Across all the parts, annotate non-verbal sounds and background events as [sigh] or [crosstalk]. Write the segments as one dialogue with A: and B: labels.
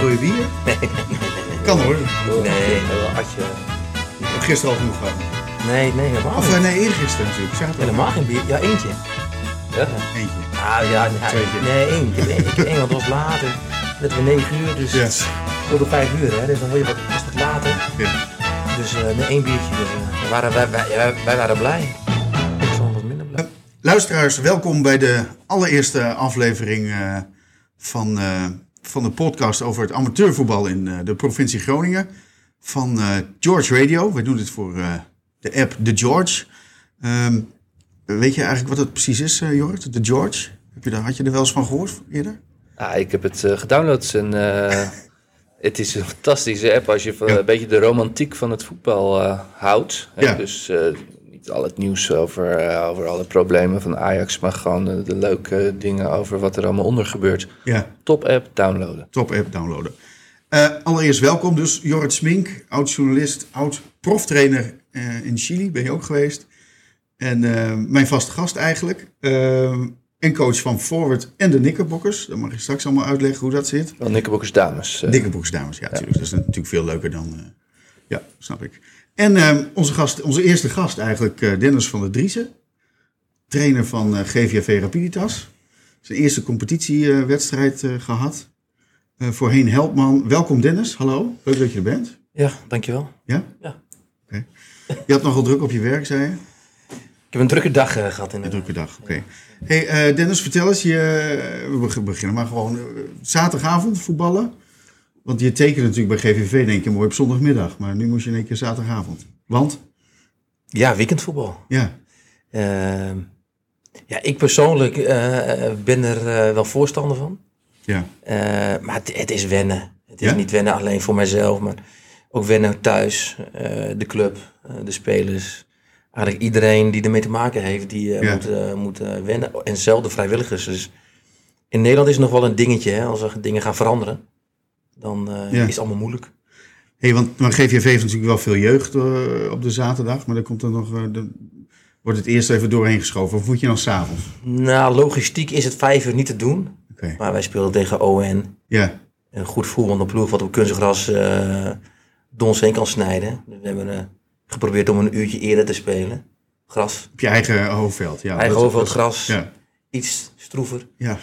A: Wil je bier? [laughs] Kan hoor.
B: Nee, als je...
A: Gisteren al genoeg gehad.
B: Nee, nee, helemaal
A: Of
B: niet.
A: eh, nee, eergisteren natuurlijk. Zaterdag.
B: Helemaal geen bier. Ja, eentje. Ja.
A: Eentje.
B: Nou ja, ja,
A: Tweetje.
B: nee, eentje. Nee, ik- Engeland was later. Net weer 9 uur, dus
A: Yes.
B: tot op 5 uur, hè. Dus dan word je wat, is wat later.
A: Ja.
B: Dus eh, met één biertje. Dus, eh, we waren, wij, wij, wij- wij waren blij. Ik was wel wat minder blij.
A: Luisteraars, welkom bij de allereerste aflevering eh, van, eh, van de podcast over het amateurvoetbal in eh, de provincie Groningen. Van eh, George Radio. We doen dit voor eh, de app The George. Ehm, weet je eigenlijk wat het precies is, eh Jorrit? The George? Heb je daar, had je er wel eens van gehoord eerder?
C: Ja, ik heb het eh, gedownload en eh, het is een fantastische app als je van
A: Ja.
C: een beetje de romantiek van het voetbal eh, houdt. Hè?
A: Ja.
C: Dus eh, niet al het nieuws over, eh, over alle problemen van Ajax, maar gewoon eh, de leuke dingen over wat er allemaal onder gebeurt.
A: Ja.
C: Top app, downloaden.
A: Top app downloaden. Eh, allereerst welkom dus Jorrit Smink, oud-journalist, oud-proftrainer eh, in Chili, ben je ook geweest. En eh, mijn vaste gast eigenlijk. Eh, en coach van Forward en de Knickerbokkers. Dan mag je straks allemaal uitleggen hoe dat zit.
C: Wel Nikkeboekers Dames. eh.
A: Knickerbokkers, dames, ja, natuurlijk. Dat is natuurlijk veel leuker dan... eh, ja, snap ik. En eh, onze, gast, onze eerste gast eigenlijk, eh, Dennis van der Driessen. Trainer van eh, GVV Rapiditas. Zijn eerste competitiewedstrijd eh, gehad. Eh, voorheen Helpman. Welkom Dennis, hallo. Leuk dat je er bent.
B: Ja, dankjewel.
A: Ja?
B: Ja.
A: Oké. Je had nogal druk op je werk, zei je?
B: Ik heb een drukke dag eh, gehad in
A: Een
B: de
A: drukke dag, oké. Hey, eh, Dennis, vertel eens. Je, we beg- beginnen maar gewoon. eh, zaterdagavond voetballen. Want je tekent natuurlijk bij GVV in één keer mooi op zondagmiddag. Maar nu moest je in één keer zaterdagavond. Want?
B: Ja, weekendvoetbal.
A: Ja.
B: Ehm, ja, ik persoonlijk eh, ben er eh, wel voorstander van.
A: Ja.
B: Eh, maar het, het is wennen. Het is
A: Ja?
B: niet wennen alleen voor mijzelf, maar ook wennen thuis, eh, de club, eh, de spelers. Eigenlijk iedereen die ermee te maken heeft, die eh,
A: Ja.
B: moet, eh, moet eh, wennen. En zelf de vrijwilligers. Dus in Nederland is het nog wel een dingetje. Hè? Als er dingen gaan veranderen, dan eh,
A: Ja.
B: is het allemaal moeilijk.
A: Hey, want maar GVV heeft natuurlijk wel veel jeugd eh, op de zaterdag. Maar dan komt er nog. eh, de- wordt het eerst even doorheen geschoven. Of moet je dan s'avonds?
B: Nou, logistiek is het vijf uur niet te doen.
A: Oké.
B: Maar wij speelden tegen ON.
A: Ja.
B: een goed voetbal van de ploeg wat op kunstgras eh dons heen kan snijden. Dus we hebben eh, geprobeerd om een uurtje eerder te spelen. Gras,
A: Op je eigen hoofdveld. Ja,
B: eigen
A: Nou, Dat-
B: over het
A: dat-
B: gras,
A: Ja.
B: iets stroever.
A: Ja.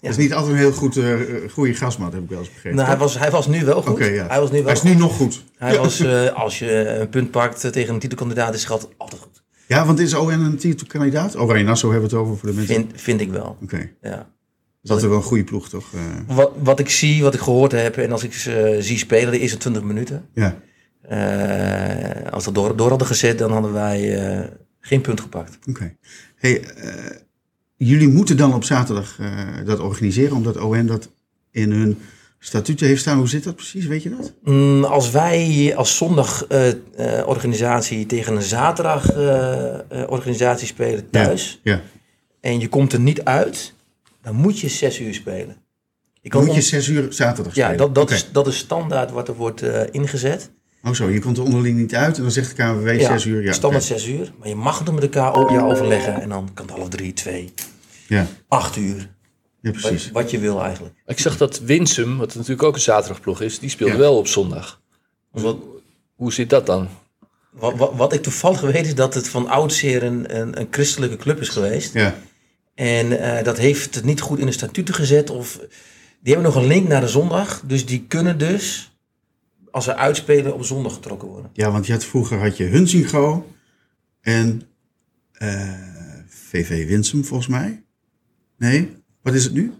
A: Dat is niet altijd een heel goed, eh, goede gasmat, heb ik wel eens begrepen.
B: Nou, hij was, hij was nu wel goed.
A: Oké, ja.
B: Hij was nu wel
A: Hij is nu nog goed.
B: goed.
A: [laughs]
B: Hij was, eh, als je een punt pakt eh, tegen een titelkandidaat, is schat altijd goed.
A: Ja, want is ON een titelkandidaat? Oranje Nassau hebben we het over voor de mensen.
B: Vind, vind ik wel.
A: Oké, Dus
B: Ja.
A: dat is wel een goede ploeg, toch? Eh,
B: Wat, wat ik zie, wat ik gehoord heb en als ik ze zie spelen, de eerste 20 minuten.
A: ja,
B: eh, als we dat door, door hadden gezet, dan hadden wij eh, geen punt gepakt.
A: oké. Hey, eh, jullie moeten dan op zaterdag eh, dat organiseren, omdat ON dat in hun statuten heeft staan. Hoe zit dat precies? Weet je dat?
B: Mm, als wij als zondagorganisatie tegen een zaterdagorganisatie spelen thuis
A: Ja.
B: en je komt er niet uit, dan moet je zes uur spelen. Je
A: Dan moet je
B: on-
A: zes uur zaterdag
B: ja,
A: spelen.
B: dat, dat,
A: Oké.
B: is, dat is standaard wat er wordt eh, ingezet.
A: Oh zo, je komt er onderling niet uit en dan zegt de KNVB zes uur. Ja,
B: standaard
A: oké.
B: zes uur. Maar je mag het dan met elkaar o- ja, overleggen en dan kan het half drie, twee,
A: ja.
B: acht uur.
A: ja,
B: Wat,
A: precies.
B: wat je wil eigenlijk.
C: Ik zag dat Winsum, wat natuurlijk ook een zaterdagploeg is, die speelde
A: Ja.
C: wel op zondag. Hoe zit dat dan?
B: Wat, wat, wat ik toevallig weet is dat het van oudsher een, een, een christelijke club is geweest.
A: Ja,
B: En eh, dat heeft het niet goed in de statuten gezet. Of, die hebben nog een link naar de zondag. Dus die kunnen dus, als ze uitspelen, op zondag getrokken worden.
A: ja want je had, vroeger had je Hunsingo en eh, VV Winsum, volgens mij. Nee, wat is het nu?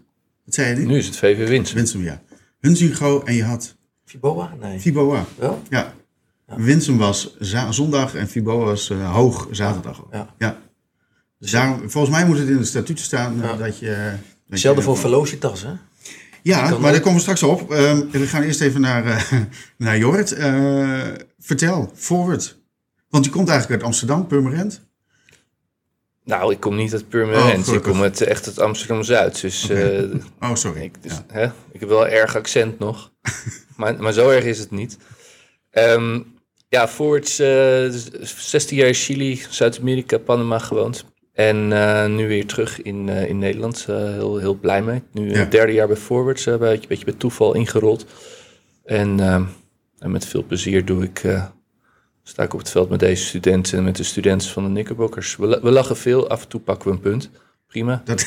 A: Wat zei je nu?
C: Nu is het VV Winsum.
A: Winsum, ja. Hunsingo en je had
B: Fiboa? Nee.
A: Fiboa.
B: Wel?
A: Ja. Winsum was za- zondag en Fiboa was eh, hoog zaterdag. ook.
B: Ja.
A: Dus daarom, volgens mij moet het in de statuten staan eh,
B: Ja.
A: dat je... dat je-
B: Hetzelfde voor Velocitas, hè?
A: Ja, maar
B: ook.
A: daar komen we straks op. Ehm, we gaan eerst even naar, eh, [laughs] naar Jorrit. Eh, vertel, forward. Want je komt eigenlijk uit Amsterdam, Purmerend.
C: Nou, ik kom niet uit
A: Oh,
C: Purmerend. ik
A: gelukkig.
C: kom uit, eh, echt uit Amsterdam-Zuid. Dus eh,
A: Oh, sorry.
C: Ik, dus,
A: Ja.
C: hè? ik heb wel een erg
A: [laughs]
C: accent nog. maar, maar zo erg is het niet. Ehm, ja, Fords, eh, z- 16 jaar in Chili, Zuid-Amerika, Panama gewoond. En eh, nu weer terug in, eh, in Nederland. Eh, heel, heel blij mee. Nu
A: Ja.
C: het derde jaar bij Forwards. eh, een beetje, beetje bij toeval ingerold. En, ehm, en met veel plezier doe ik, eh, sta ik op het veld met deze studenten en met de studenten van de Knickerbockers. We, la- we lachen veel, af en toe pakken we een punt. Prima.
A: Dat,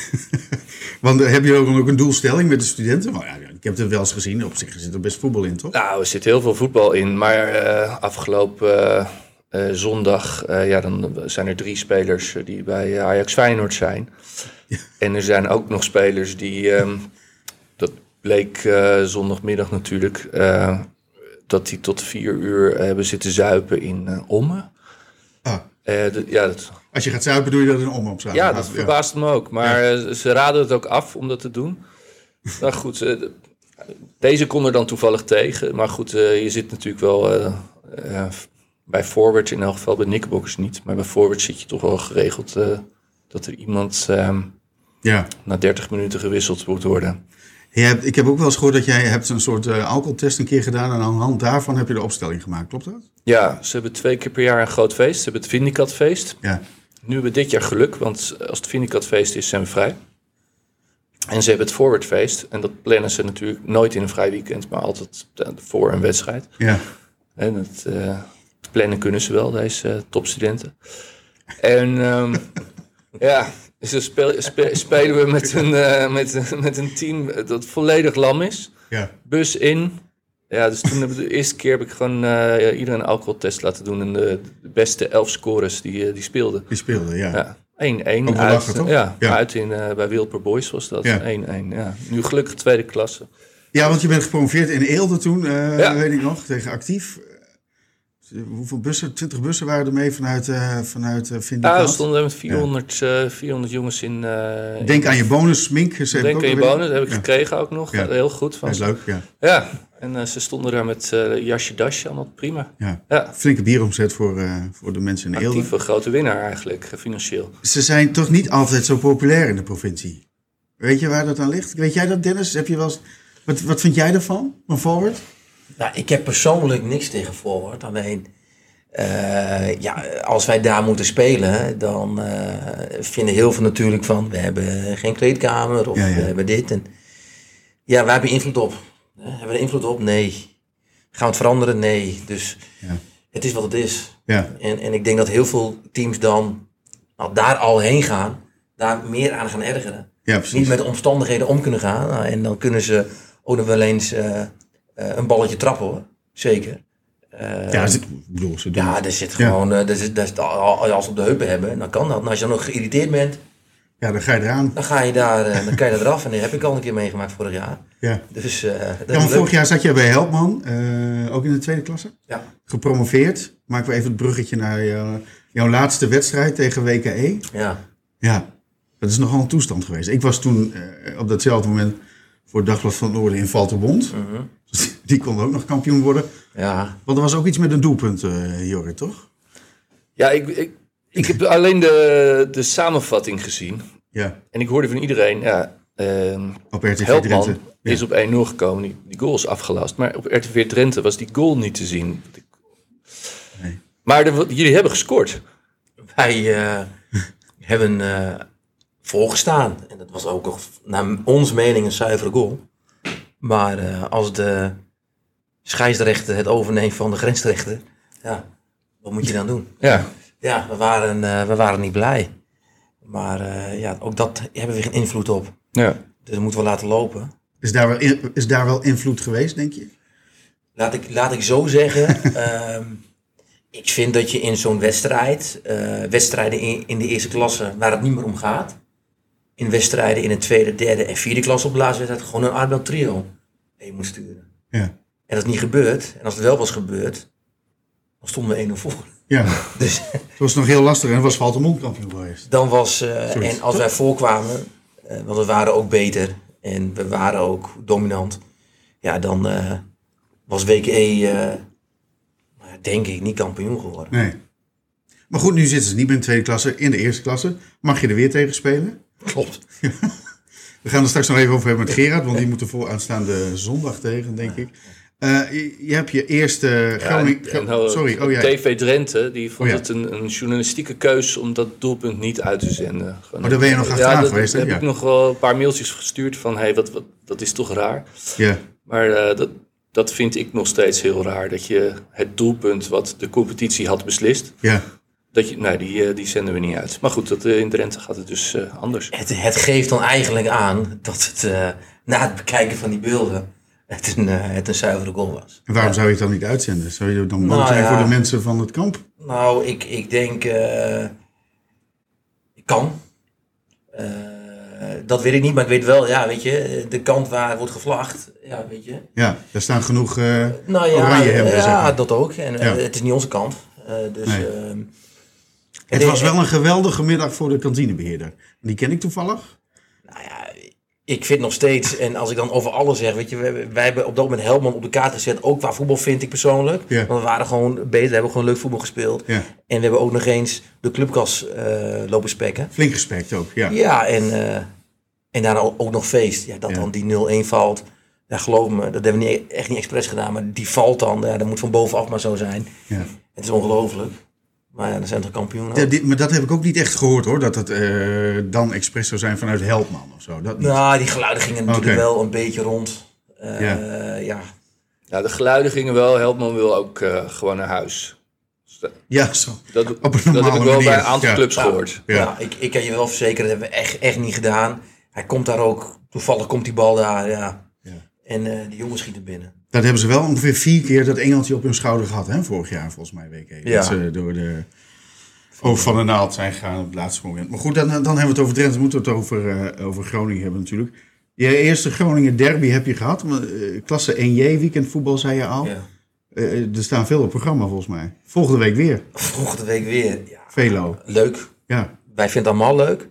A: [laughs] want eh, heb je ook, ook een doelstelling met de studenten? Maar ja, ik heb het wel eens gezien. Op zich zit er best voetbal in, toch?
C: Nou, er zit heel veel voetbal in, maar eh, afgelopen eh, eh, zondag eh, ja, dan zijn er drie spelers eh, die bij Ajax Feyenoord zijn. En er zijn ook nog spelers die, ehm, dat bleek eh, zondagmiddag natuurlijk, eh, dat die tot vier uur hebben zitten zuipen in eh Ommen.
A: Ah,
C: Eh, d- ja, dat,
A: als je gaat zuipen, doe je dat in omhoog.
C: ja, dat verbaast me ook. Maar eh, ze raden het ook af om dat te doen. nou goed, eh, de- deze kon er dan toevallig tegen. Maar goed, eh, je zit natuurlijk wel eh, eh, bij forward in elk geval, bij Nickbox niet. Maar bij forward zit je toch wel geregeld eh, dat er iemand eh,
A: Ja.
C: na 30 minuten gewisseld moet worden.
A: Je hebt, ik heb ook wel eens gehoord dat jij hebt een soort eh, alcoholtest een keer gedaan. En aan de hand daarvan heb je de opstelling gemaakt. Klopt dat?
C: Ja, ze hebben twee keer per jaar een groot feest. Ze hebben het Vindicatfeest.
A: Ja.
C: Nu hebben we dit jaar geluk, want als het Vindicatfeest is, zijn we vrij. En ze hebben het Forwardfeest. En dat plannen ze natuurlijk nooit in een vrij weekend, maar altijd eh, voor een wedstrijd.
A: Ja.
C: En dat eh, plannen kunnen ze wel, deze eh, topstudenten. En ehm, [laughs] ja, dus dan speel- spe- spelen we met een, eh, met, een- met een team dat volledig lam is.
A: Ja.
C: Bus in. Ja, dus toen heb ik de eerste keer heb ik gewoon eh, ja, iedereen een alcoholtest laten doen. En de, de beste elf scorers die, eh, die speelden.
A: Die speelde, ja.
C: Ja, 1-1
A: Ook
C: uit,
A: wel lachen, toch?
C: Ja,
A: Ja.
C: uit in, eh, bij Wilper Boys was dat. 1-1,
A: Ja.
C: ja. Nu gelukkig tweede klasse.
A: Ja, want je bent gepromoveerd in Eelde toen, eh,
C: Ja.
A: weet ik nog, tegen Actief. Eh, Hoeveel bussen? 20 bussen waren er mee vanuit, eh vanuit eh
C: Ja, Ah, we
A: Vindicaat.
C: stonden met 400, eh, 400 jongens in... eh,
A: Denk aan je bonus, Mink. Ze
C: Denk aan je bonus, heb ik gekregen ook nog.
A: Ja.
C: Heel goed.
A: Dat
C: Van
A: is
C: ze.
A: leuk, ja.
C: Ja, en eh, ze stonden daar met eh, jasje, dasje, allemaal prima.
A: ja.
C: Ja,
A: Flinke bieromzet voor, eh, voor de mensen in Eelde.
C: actieve grote winnaar eigenlijk, eh, financieel.
A: Ze zijn toch niet altijd zo populair in de provincie. Weet je waar dat aan ligt? Weet jij dat, Dennis? Heb je wel eens... wat, wat vind jij daarvan, van Forward?
B: Nou, ik heb persoonlijk niks tegen Forward. Alleen, eh, ja, als wij daar moeten spelen, dan eh, vinden heel veel natuurlijk van... we hebben geen kleedkamer of
A: Ja, ja.
B: we hebben dit. En, ja, waar heb je invloed op? Eh, Hebben we er invloed op? Nee. Gaan we het veranderen? Nee. Dus
A: Ja.
B: het is wat het is.
A: Ja,
B: En, en ik denk dat heel veel teams dan nou, daar al heen gaan, daar meer aan gaan ergeren.
A: ja
B: Niet
A: precies.
B: met de omstandigheden om kunnen gaan. Nou, en dan kunnen ze ook nog wel eens eh, eh, een balletje trappen hoor. Zeker. Eh,
A: Ja, ze, ik bedoel, ze doen
B: ja,
A: het.
B: er zit
A: Ja.
B: gewoon, eh, er zit, daar zit al- als ze op de heupen hebben, dan kan dat. En als je dan ook geïrriteerd bent,
A: ja, dan ga je eraan.
B: dan ga je daar, eh, dan kan je daar eraf. En dat heb ik al een keer meegemaakt vorig jaar.
A: Ja.
B: Dus eh, dat
A: Ja,
B: is
A: want
B: leuk.
A: vorig jaar zat jij bij Helpman, eh, ook in de tweede klasse.
B: Ja.
A: Gepromoveerd. Maken we even het bruggetje naar jou- jouw laatste wedstrijd tegen WKE.
B: Ja.
A: Ja, dat is nogal een toestand geweest. Ik was toen eh, op datzelfde moment voor het Dagblad van het Noorden in Valterbond.
C: Mhm.
A: [laughs] Die kon ook nog kampioen worden.
B: ja.
A: Want er was ook iets met een doelpunt, eh Jorrit, toch?
C: Ja, ik, ik, ik heb alleen de, de samenvatting gezien.
A: Ja,
C: En ik hoorde van iedereen, ja, ehm,
A: op RTV Drenthe.
C: Helpman
A: Ja.
C: is op 1-0 gekomen. Die, die goal is afgelast. Maar op RTV Drenthe was die goal niet te zien.
A: Nee.
C: Maar er- jullie hebben gescoord.
B: Wij eh, hebben eh volgestaan. En dat was ook nog naar ons mening een zuivere goal. Maar eh, als de scheidsrechter het overneemt van de grensrechter, ja, wat moet je dan doen?
C: Ja.
B: Ja, we waren, eh, we waren niet blij. Maar eh, ja, ook dat hebben we geen invloed op.
C: ja.
B: Dus dat moeten we laten lopen.
A: Is, daar wel in- is daar wel invloed geweest, denk je?
B: Laat ik, laat ik zo zeggen. ehm, ik vind dat je in zo'n wedstrijd, eh, wedstrijden in, in de eerste klasse, waar het niet meer om gaat. In wedstrijden in de tweede, derde en vierde klasse op de laatste wedstrijd gewoon een Arbel trio mee moet sturen.
A: Ja.
B: En dat is niet gebeurd. En als het wel was gebeurd, dan stonden we 1 voor. [laughs]
A: Ja,
B: Dus
A: het was nog heel lastig en het was Valterbond kampioen geweest.
B: dan was. eh,
A: Zoiets,
B: en als wij voorkwamen, eh, want we waren ook beter en we waren ook dominant. Ja, dan eh, was WKE, eh, nou, denk ik, niet kampioen geworden.
A: Nee. Maar goed, nu zitten ze niet meer in de tweede klasse, in de eerste klasse. Mag je er weer tegen spelen?
B: Klopt.
A: We gaan er straks nog even over
B: [laughs]
A: hebben met Gerard, want die moet er voor aanstaande zondag tegen, denk ik. Eh, je, je hebt je eerste Groningen.
C: en- en nou,
A: sorry, oh ja.
C: TV Drenthe die vond
A: Oh ja.
C: het een, een journalistieke keus om dat doelpunt niet uit te zenden. Gewoon-
A: Oh, daar ben je nog achteraan
C: ja, dat-
A: geweest, hè?
C: heb
A: Ja.
C: ik nog wel een paar mailtjes gestuurd van, hé, hey, wat, wat, dat is toch raar.
A: ja.
C: Maar eh, dat, dat vind ik nog steeds heel raar. Dat je het doelpunt wat de competitie had beslist,
A: Ja.
C: dat je, nou, die, eh, die zenden we niet uit. Maar goed, dat, eh, in Drenthe gaat het dus eh, anders.
B: Het, het geeft dan eigenlijk aan dat het eh, na het bekijken van die beelden het een, eh, het een zuivere goal was.
A: En waarom zou je het dan niet uitzenden? Zou je dan bang
B: Nou,
A: zijn
B: ja.
A: voor de mensen van het kamp?
B: Nou, ik, ik denk. eh, ik kan. Eh, dat weet ik niet, maar ik weet wel, ja, weet je, de kant waar wordt gevlacht, ja, weet je.
A: Ja, daar staan genoeg... eh,
B: Nou ja,
A: Oranje hebben,
B: ja,
A: zeg maar.
B: dat ook. En, eh,
A: Ja.
B: Het is niet onze kant. eh, dus,
A: Nee.
B: ehm,
A: het
B: ik-
A: was wel een geweldige middag voor de kantinebeheerder. Die ken ik toevallig.
B: Nou ja, ik vind nog steeds, en als ik dan over alles zeg, weet je, wij, wij hebben op dat moment Helman op de kaart gezet, ook qua voetbal vind ik persoonlijk.
A: Ja.
B: Want we waren gewoon beter, we hebben gewoon leuk voetbal gespeeld.
A: Ja.
B: En we hebben ook nog eens de clubkas eh, lopen spekken.
A: Flink respect ook, ja.
B: Ja, en, eh, en daarna ook ook nog feest. Ja, dat
A: Ja.
B: dan die 0-1 valt. Ja, geloof me, dat hebben we niet, echt niet expres gedaan, maar die valt dan. Ja, dat moet van bovenaf maar zo zijn.
A: ja.
B: Het is ongelooflijk. Maar ja, dan zijn we toch kampioen. ook.
A: Ja, dit- maar dat heb ik ook niet echt gehoord hoor. Dat het eh, dan expres zou zijn vanuit Helpman of zo. Dat niet.
B: Nou, die geluiden gingen natuurlijk
A: Oké.
B: wel een beetje rond. Eh,
A: Ja.
B: ja,
C: Nou, de geluiden gingen wel. Helpman wil ook eh, gewoon naar huis. Dus dat,
A: Ja, zo.
C: dat,
A: een
C: dat heb ik
A: normale
C: wel
A: manier,
C: bij een aantal
A: ja.
C: clubs
B: Ja.
C: gehoord.
A: Ja.
B: Ja. nou, ik, ik kan je wel verzekeren, dat hebben we echt, echt niet gedaan. Hij komt daar ook, toevallig komt die bal daar, ja.
A: Ja.
B: En eh, die jongen schiet er binnen.
A: Dat hebben ze wel ongeveer vier keer dat engeltje op hun schouder gehad. Hè? Vorig jaar volgens mij week één.
B: Ja.
A: Dat ze door de oog van de naald zijn gegaan op het laatste moment. Maar goed, dan, dan hebben we het over Drenthe. Moeten we het over, eh, over Groningen hebben natuurlijk. Je eerste Groningen derby heb je gehad. maar, eh, Klasse 1J weekendvoetbal zei je al.
B: Ja.
A: Eh, er staan veel op programma volgens mij. Volgende week weer.
B: Volgende week weer. Ja,
A: Velo.
B: leuk.
A: Ja.
B: Wij vinden het allemaal leuk.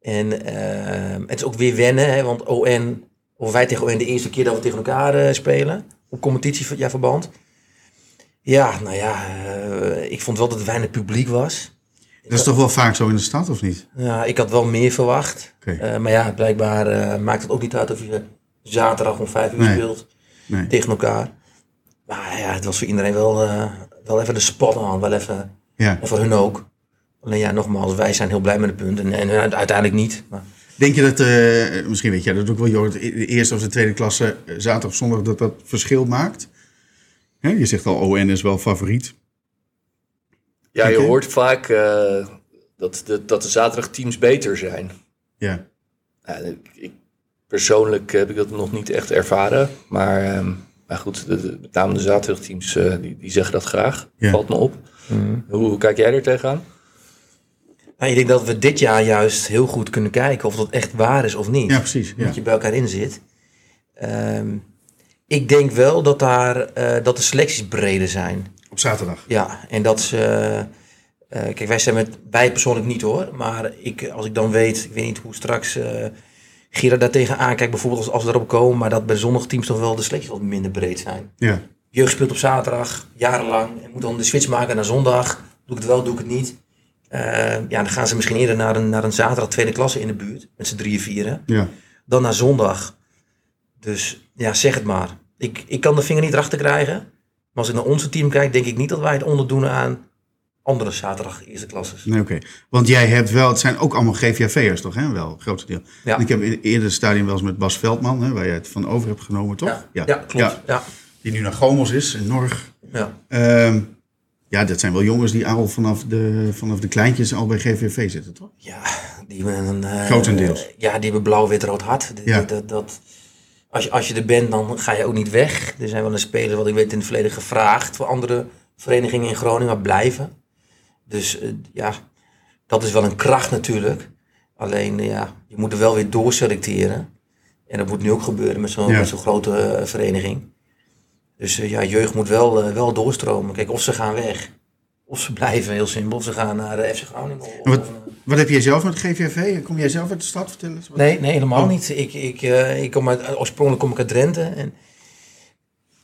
B: En ehm, het is ook weer wennen, hè, want ON, of wij tegen ON de eerste keer dat we tegen elkaar eh, spelen. Op competitieverband. Ja, nou ja, eh, ik vond wel dat er weinig publiek was.
A: Dat is toch wel vaak zo in de stad of niet?
B: Ja, ik had wel meer verwacht.
A: Oké.
B: Eh, maar ja, blijkbaar eh, maakt het ook niet uit of je zaterdag om vijf uur
A: Nee.
B: speelt
A: Nee.
B: tegen elkaar. Maar ja, het was voor iedereen wel, eh, wel even de spot aan. Wel even,
A: Ja.
B: en voor hun ook. Alleen ja, nogmaals, wij zijn heel blij met het punt. En, en u- uiteindelijk niet. Maar
A: Denk je dat, eh, misschien weet jij dat ook wel, Jorrit, de eerste of de tweede klasse, eh, zaterdag of zondag, dat dat verschil maakt? Hè, je zegt al, ON is wel favoriet.
C: Ja, je
A: Oké.
C: hoort vaak eh, dat, de, dat de zaterdagteams beter zijn.
A: Ja.
C: Ja, ik, ik- persoonlijk heb ik dat nog niet echt ervaren. Maar, ehm, maar goed, de, de, met name de zaterdagteams eh, die, die zeggen dat graag.
A: Ja. Mhm.
C: Valt me op. Hoe, hoe kijk jij er tegenaan?
B: Nou, ik denk dat we dit jaar juist heel goed kunnen kijken of dat echt waar is of niet.
A: ja, precies. Ja.
B: dat je bij elkaar in zit. Ehm, ik denk wel dat, daar, eh, dat de selecties breder zijn.
A: Op zaterdag.
B: Ja, en dat is. eh, eh, kijk, wij zijn met. Wij persoonlijk niet hoor. Maar ik, als ik dan weet. Ik weet niet hoe straks. eh Gira daar tegenaan kijkt. Bijvoorbeeld als, als we erop komen. Maar dat bij sommige teams toch wel de selecties wat minder breed zijn.
A: Ja.
B: Jeugd speelt op zaterdag. Jarenlang. En moet dan de switch maken naar zondag. Doe ik het wel, doe ik het niet. Eh, ja, dan gaan ze misschien eerder naar een, naar een zaterdag tweede klasse in de buurt. Met z'n drieën, vieren.
A: Ja.
B: Dan naar zondag. Dus ja, zeg het maar. Ik, ik kan de vinger niet erachter krijgen. Maar als ik naar onze team kijk, denk ik niet dat wij het onderdoen aan andere zaterdag eerste klasses.
A: Nee, oké. Want jij hebt wel, het zijn ook allemaal GVV'ers toch, hè? Wel, grote deel.
B: Ja.
A: En Ik heb in- eerder het stadion wel eens met Bas Veldman, hè, waar jij het van over hebt genomen, toch?
B: Ja, ja, klopt. Ja. Ja.
A: Die nu naar Gomos is, in Norg. Ehm, ja, dat zijn wel jongens die al vanaf de, vanaf de kleintjes al bij GVV zitten, toch?
B: Ja, die hebben een... eh,
A: Grotendeels.
B: Ja, die hebben blauw, wit, rood, hart. Die-
A: Ja.
B: Dat, dat, als, je, als je er bent, dan ga je ook niet weg. Er zijn wel een speler, wat ik weet, in het verleden gevraagd voor andere verenigingen in Groningen maar blijven. Dus eh, ja, dat is wel een kracht natuurlijk. Alleen eh, ja, je moet er wel weer doorselecteren. En dat moet nu ook gebeuren met zo'n
A: Ja.
B: met zo'n grote eh, vereniging. Dus eh, ja, jeugd moet wel, eh, wel doorstromen. Kijk, of ze gaan weg, of ze blijven, heel simpel. Of ze gaan naar de FC Groningen. of-
A: En
B: of,
A: Wat,
B: eh,
A: wat heb jij zelf met GVV? Kom jij zelf uit de stad? Vertel eens. Wat-
B: Nee, nee helemaal
A: Oh.
B: niet. Ik, ik, eh, ik kom uit, oorspronkelijk kom ik uit Drenthe. En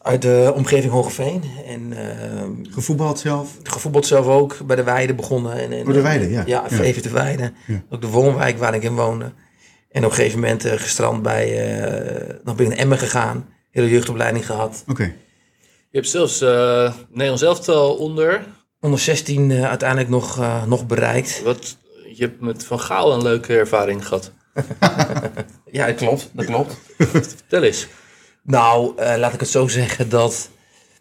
B: uit de omgeving Hogeveen. En eh,
A: Gevoetbald zelf?
B: gevoetbald zelf ook. Bij de Weide begonnen. En, en,
A: Oh, de Weide, ja.
B: Ja,
A: Ja.
B: even de Weide.
A: Ja.
B: Ook de woonwijk waar ik in woonde. En op een gegeven moment eh, gestrand bij... eh dan ben ik naar Emmen gegaan. Hele jeugdopleiding gehad.
A: Oké.
C: Je hebt zelfs eh Nederlands elftal onder.
B: Onder 16 eh, uiteindelijk nog, eh, nog bereikt.
C: Wat, je hebt met Van Gaal een
B: [laughs]
C: leuke ervaring gehad.
B: Ja, dat klopt. Dat klopt.
C: Vertel eens.
B: Nou, eh, laat ik het zo zeggen dat.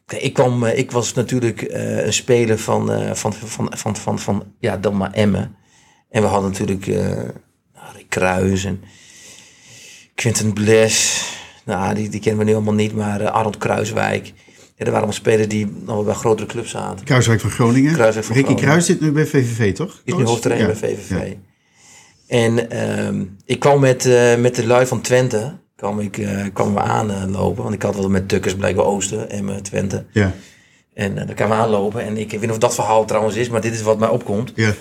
B: Kijk, Ik, kwam, eh, ik was natuurlijk eh, een speler van, eh, van, van, van, van, van, ja, dan maar Emmen. En we hadden natuurlijk eh nou, Rick Kruijs en Quinten Bles. Nou, die, die kennen we nu allemaal niet, maar eh, Arnold Kruiswijk. Ja, dat waren allemaal spelers die nog wel bij grotere clubs zaten.
A: Kruiswijk van Groningen.
B: Kruiswijk van
A: Ricky
B: Groningen.
A: Kruis zit nu bij VVV, toch?
B: Is nu hoofdtrainer
A: Oh, Ja.
B: bij VVV.
A: Ja.
B: En ehm, ik kwam met, eh, met de lui van Twente kwam ik, eh, kwam we aanlopen. Want ik had wel met Tukkers blijkbaar Oosten en Twente.
A: Ja.
B: En eh, daar kwamen we aanlopen. En ik weet niet of dat verhaal trouwens is, maar dit is wat mij opkomt.
A: Ja.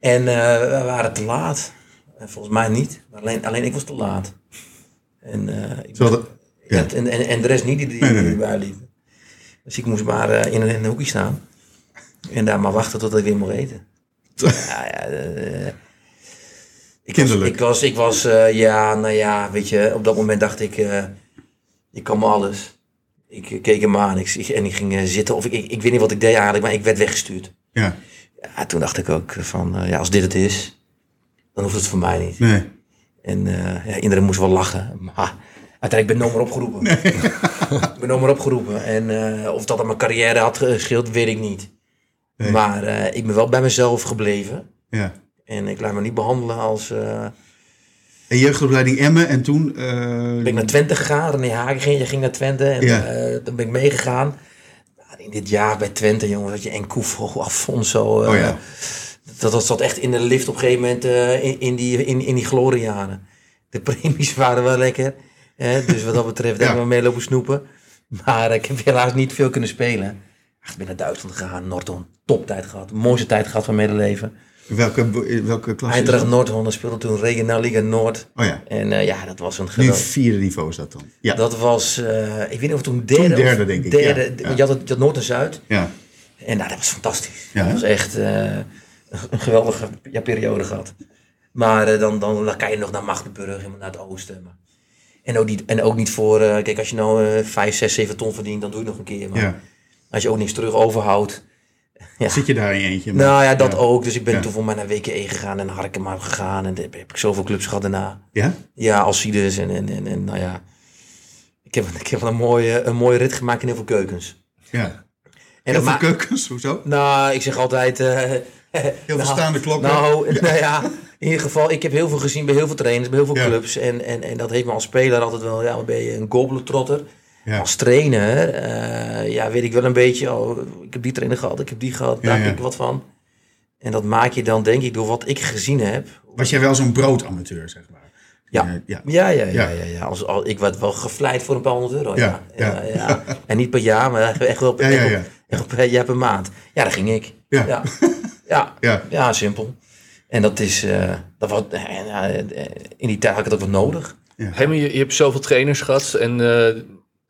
B: En eh, we waren te laat. En volgens mij niet. Maar Alleen, alleen ik was te laat. En, eh, ik
A: Terwijl de- ja.
B: en, en, en, en de rest niet die, die,
A: Nee, nee,
B: die
A: nee.
B: erbij liepen. Dus ik moest maar eh, in, een, in een hoekje staan. En daar maar wachten tot ik weer mocht
A: [laughs]
B: eten. ja, ja, eh, ik
A: Kinderlijk.
B: Was, ik was, ik was eh, ja, nou ja, weet je, op dat moment dacht ik, eh, ik kan me alles. Ik eh, keek hem aan ik, ik- en ik ging eh, zitten. Of ik, ik, ik weet niet wat ik deed eigenlijk, maar ik werd weggestuurd.
A: ja.
B: Ja, toen dacht ik ook van, eh, ja, als dit het is, dan hoeft het voor mij niet.
A: Nee.
B: En eh, ja, iedereen moest wel lachen. Maar uiteindelijk ben ik nooit meer opgeroepen. [laughs] ik ben nooit meer opgeroepen. En eh, of dat aan mijn carrière had geschild, weet ik niet.
A: Nee.
B: Maar eh, ik ben wel bij mezelf gebleven.
A: Ja.
B: En ik laat me niet behandelen als... eh,
A: En jeugdopleiding Emmen en toen... eh,
B: ben ik naar Twente gegaan. René Hagen ging, ging naar Twente. En
A: Ja.
B: eh, toen ben ik meegegaan. Nou, In dit jaar bij Twente, jongens, had je Enkoevo, Afonso. eh,
A: Oh ja.
B: dat, dat zat echt in de lift op een gegeven moment eh, in, in die, in, in die gloriejaren. De premies [laughs] waren wel lekker. Hè? Dus wat dat betreft
A: Ja.
B: hebben we mee lopen snoepen. Maar ik heb helaas niet veel kunnen spelen. Ach, Ik ben naar Duitsland gegaan, Noordhorn. Toptijd gehad. Mooiste tijd gehad van mijn leven.
A: Welke, welke klasse is
B: Eindracht
A: dat?
B: Noordhorn dat speelde toen Regionaal Liga Noord.
A: Oh ja.
B: En eh, ja, dat was een
A: Nu
B: geweldig.
A: vierde niveau is dat dan. Ja.
B: Dat was, eh, ik weet niet of het toen derde.
A: derde,
B: of
A: denk ik,
B: Derde,
A: ja,
B: d-
A: ja.
B: want Je, had het, je had Noord en Zuid.
A: ja.
B: En nou, dat was fantastisch.
A: Ja, hè?
B: dat was echt eh, een geweldige ja, periode gehad. Maar eh, dan, dan, dan kan je nog naar Magdeburg, helemaal naar het oosten. Maar. En, ook niet, en ook niet voor, eh, kijk, als je nou eh 5, 6, 7 ton verdient, dan doe je het nog een keer. Maar
A: Ja.
B: als je ook niks terug overhoudt.
A: Zit je daar in je eentje? maar-
B: Nou ja, dat
A: ja.
B: ook. Dus ik ben
A: Ja.
B: toen voor mij naar WKE gegaan en naar Harkema gegaan. En daar heb ik zoveel clubs gehad daarna.
A: Ja?
B: Ja, Alcides en, en, en, en nou ja. Ik heb, ik heb wel een mooie, een mooie rit gemaakt in heel veel keukens.
A: Ja.
B: En
A: Heel
B: dat
A: veel
B: ma-
A: keukens, hoezo?
B: Nou, ik zeg altijd... eh, heel
A: veel staande klokken.
B: Nou, nou ja, in ieder geval, ik heb heel veel gezien bij heel veel trainers, bij heel veel
A: Ja.
B: clubs. En, en, en dat heeft me als speler altijd wel, ja, wat ben je een gobbletrotter?
A: Ja.
B: Als trainer, eh, ja, weet ik wel een beetje, oh, ik heb die trainer gehad, ik heb die gehad,
A: Ja,
B: daar
A: ja.
B: heb ik wat van. En dat maak je dan, denk ik, door wat ik gezien heb,
A: Was jij wel zo'n broodamateur, zeg maar?
B: Ja.
A: Eh, ja.
B: Ja, ja, ja.
A: Ja.
B: ja. ja, Als, al, ik werd wel gevleid voor een paar honderd euro.
A: Ja, ja.
B: Ja, ja. ja, En niet per jaar, maar echt wel
A: Ja,
B: per,
A: ja,
B: echt
A: ja.
B: op- echt op per jaar per maand. Ja, daar ging ik.
A: Ja.
B: Ja, ja.
A: Ja.
B: Ja, simpel. En dat is, eh, dat was, eh, ja, eh, in die tijd had ik het ook wel nodig.
C: Hemmy, je, je hebt zoveel trainers gehad en eh,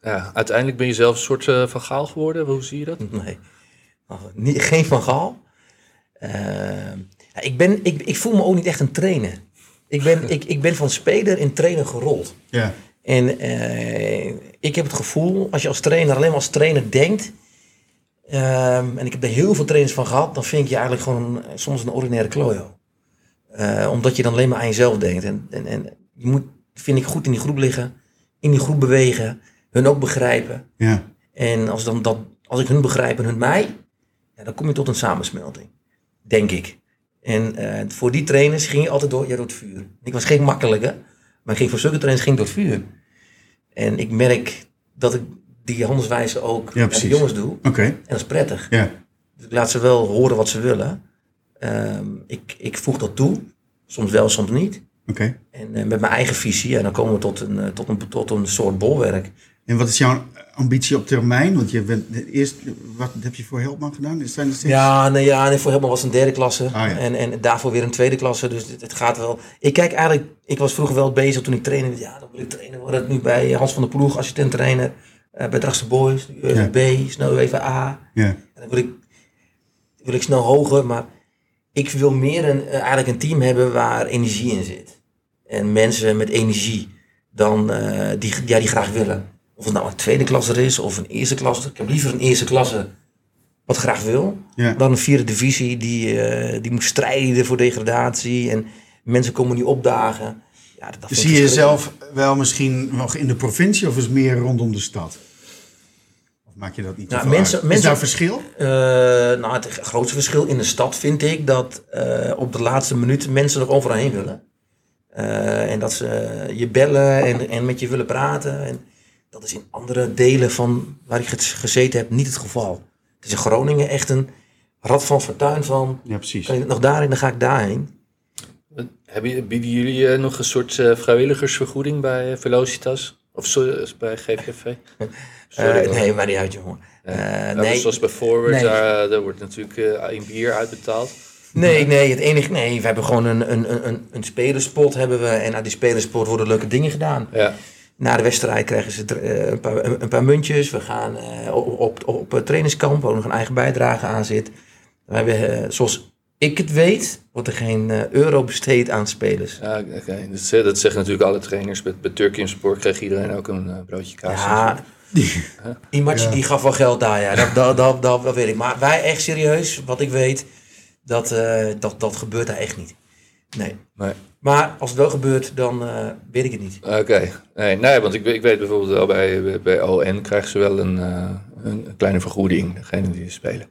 C: ja, uiteindelijk ben je zelf een soort eh, van gaal geworden. Hoe zie je dat?
B: Nee. Niet, [laughs] geen Van Gaal. Ehm, ja, ik, ben, ik, ik voel me ook niet echt een trainer. Ik ben, ik, ik ben van speler in trainer gerold.
A: Ja.
B: En eh, ik heb het gevoel, als je als trainer alleen maar als trainer denkt, ehm, en ik heb daar heel veel trainers van gehad, dan vind ik je eigenlijk gewoon een- eh, soms een ordinaire klojo. Eh, omdat je dan alleen maar aan jezelf denkt. En, en, en je moet, vind ik, goed in die groep liggen, in die groep bewegen, hun ook begrijpen.
A: Ja.
B: En als, dan dat, als ik hun begrijp en hun mij, ja, dan kom je tot een samensmelting. Denk ik. En eh, voor die trainers ging je altijd door, ja, door het vuur. Ik was geen makkelijke, maar ik ging voor zulke trainers ging ik door het vuur. En ik merk dat ik die handelswijze ook
A: Ja,
B: aan de
A: precies.
B: jongens doe.
A: Oké.
B: En dat is prettig.
A: Ja.
B: Dus ik laat ze wel horen wat ze willen. Ehm, ik, ik voeg dat toe. Soms wel, soms niet.
A: Oké.
B: En eh, met mijn eigen visie. En dan komen we tot een, eh, tot een, tot een soort bolwerk.
A: En wat is jouw ambitie op termijn? Want je bent eerst, wat heb je voor Helpman gedaan? Is zijn er steeds-
B: Ja, nee, ja, nee, voor helemaal was een derde klasse.
A: ja.
B: en, en daarvoor weer een tweede klasse. Dus het, het gaat wel. Ik kijk eigenlijk, ik was vroeger wel bezig toen ik trainde. met, Ja, dan wil ik trainer worden. Nu bij Hans van der Ploeg, assistent trainer. eh, bij Drachtse Boys, nu UEFA B, snel UEFA A.
A: Ja.
B: En dan wil ik, wil ik snel hoger, maar ik wil meer een, eh, eigenlijk een team hebben waar energie in zit. En mensen met energie dan, eh, die, ja, die graag willen. Of het nou een tweede klasser is of een eerste klasser. Ik heb liever een eerste klasse wat graag wil.
A: Ja.
B: Dan een vierde divisie die, eh, die moet strijden voor degradatie. En mensen komen niet opdagen. Ja, Ja, dat, dat vind ik
A: Zie je
B: verschrikkelijk.
A: jezelf wel misschien nog in de provincie of is het meer rondom de stad? Of maak je dat niet te
B: Nou,
A: veel
B: mensen-
A: uit? Is
B: mensen-
A: daar verschil?
B: Eh, nou, het grootste verschil in de stad vind ik dat eh, op de laatste minuut mensen nog overal heen willen. Eh, en dat ze eh, je bellen en, en met je willen praten. En dat is in andere delen van waar ik gez- gezeten heb niet het geval. Het is in Groningen echt een rad van fortuin van...
A: Ja, precies.
B: Kan ik nog daarheen, dan ga ik daarheen.
C: Hebben, je- bieden jullie eh, nog een soort eh, vrijwilligersvergoeding bij eh, Velocitas? Of zo- eh, bij GVV?
B: [laughs] Eh,
C: hoor.
B: nee, maar niet uit, jongen. Eh,
C: Nou,
B: nee.
C: Zoals bij Forward,
B: Nee.
C: daar, eh, daar wordt natuurlijk eh, in bier uitbetaald.
B: Nee, nee, het enige. Nee, we hebben gewoon een, een, een- een, een spelerspot hebben we. En uit die spelerspot worden leuke dingen gedaan.
C: Ja.
B: Na de wedstrijd krijgen ze eh, een, paar, een, een paar muntjes. We gaan eh, op, op, op het trainingskamp, waar ook nog een eigen bijdrage aan zit. We hebben, eh, zoals ik het weet, wordt er geen eh, euro besteed aan spelers.
C: Ja, oké. Dat, ze- dat zeggen natuurlijk alle trainers. Bij, bij Turk in Sport kreeg iedereen ook een eh, broodje kaas.
B: Ja, [laughs] die match
A: Ja.
B: die gaf wel geld daar, ja. Dat, dat, dat, dat, dat weet ik. Maar wij echt serieus, wat ik weet, dat, eh, dat, dat gebeurt daar echt niet. Nee.
C: Nee.
B: Maar als het wel gebeurt, dan eh, weet ik het niet.
C: Oké. Nee, nee, want ik, ik weet bijvoorbeeld wel bij, bij, bij ON krijgen ze wel een, eh, een, een kleine vergoeding. Degene die spelen.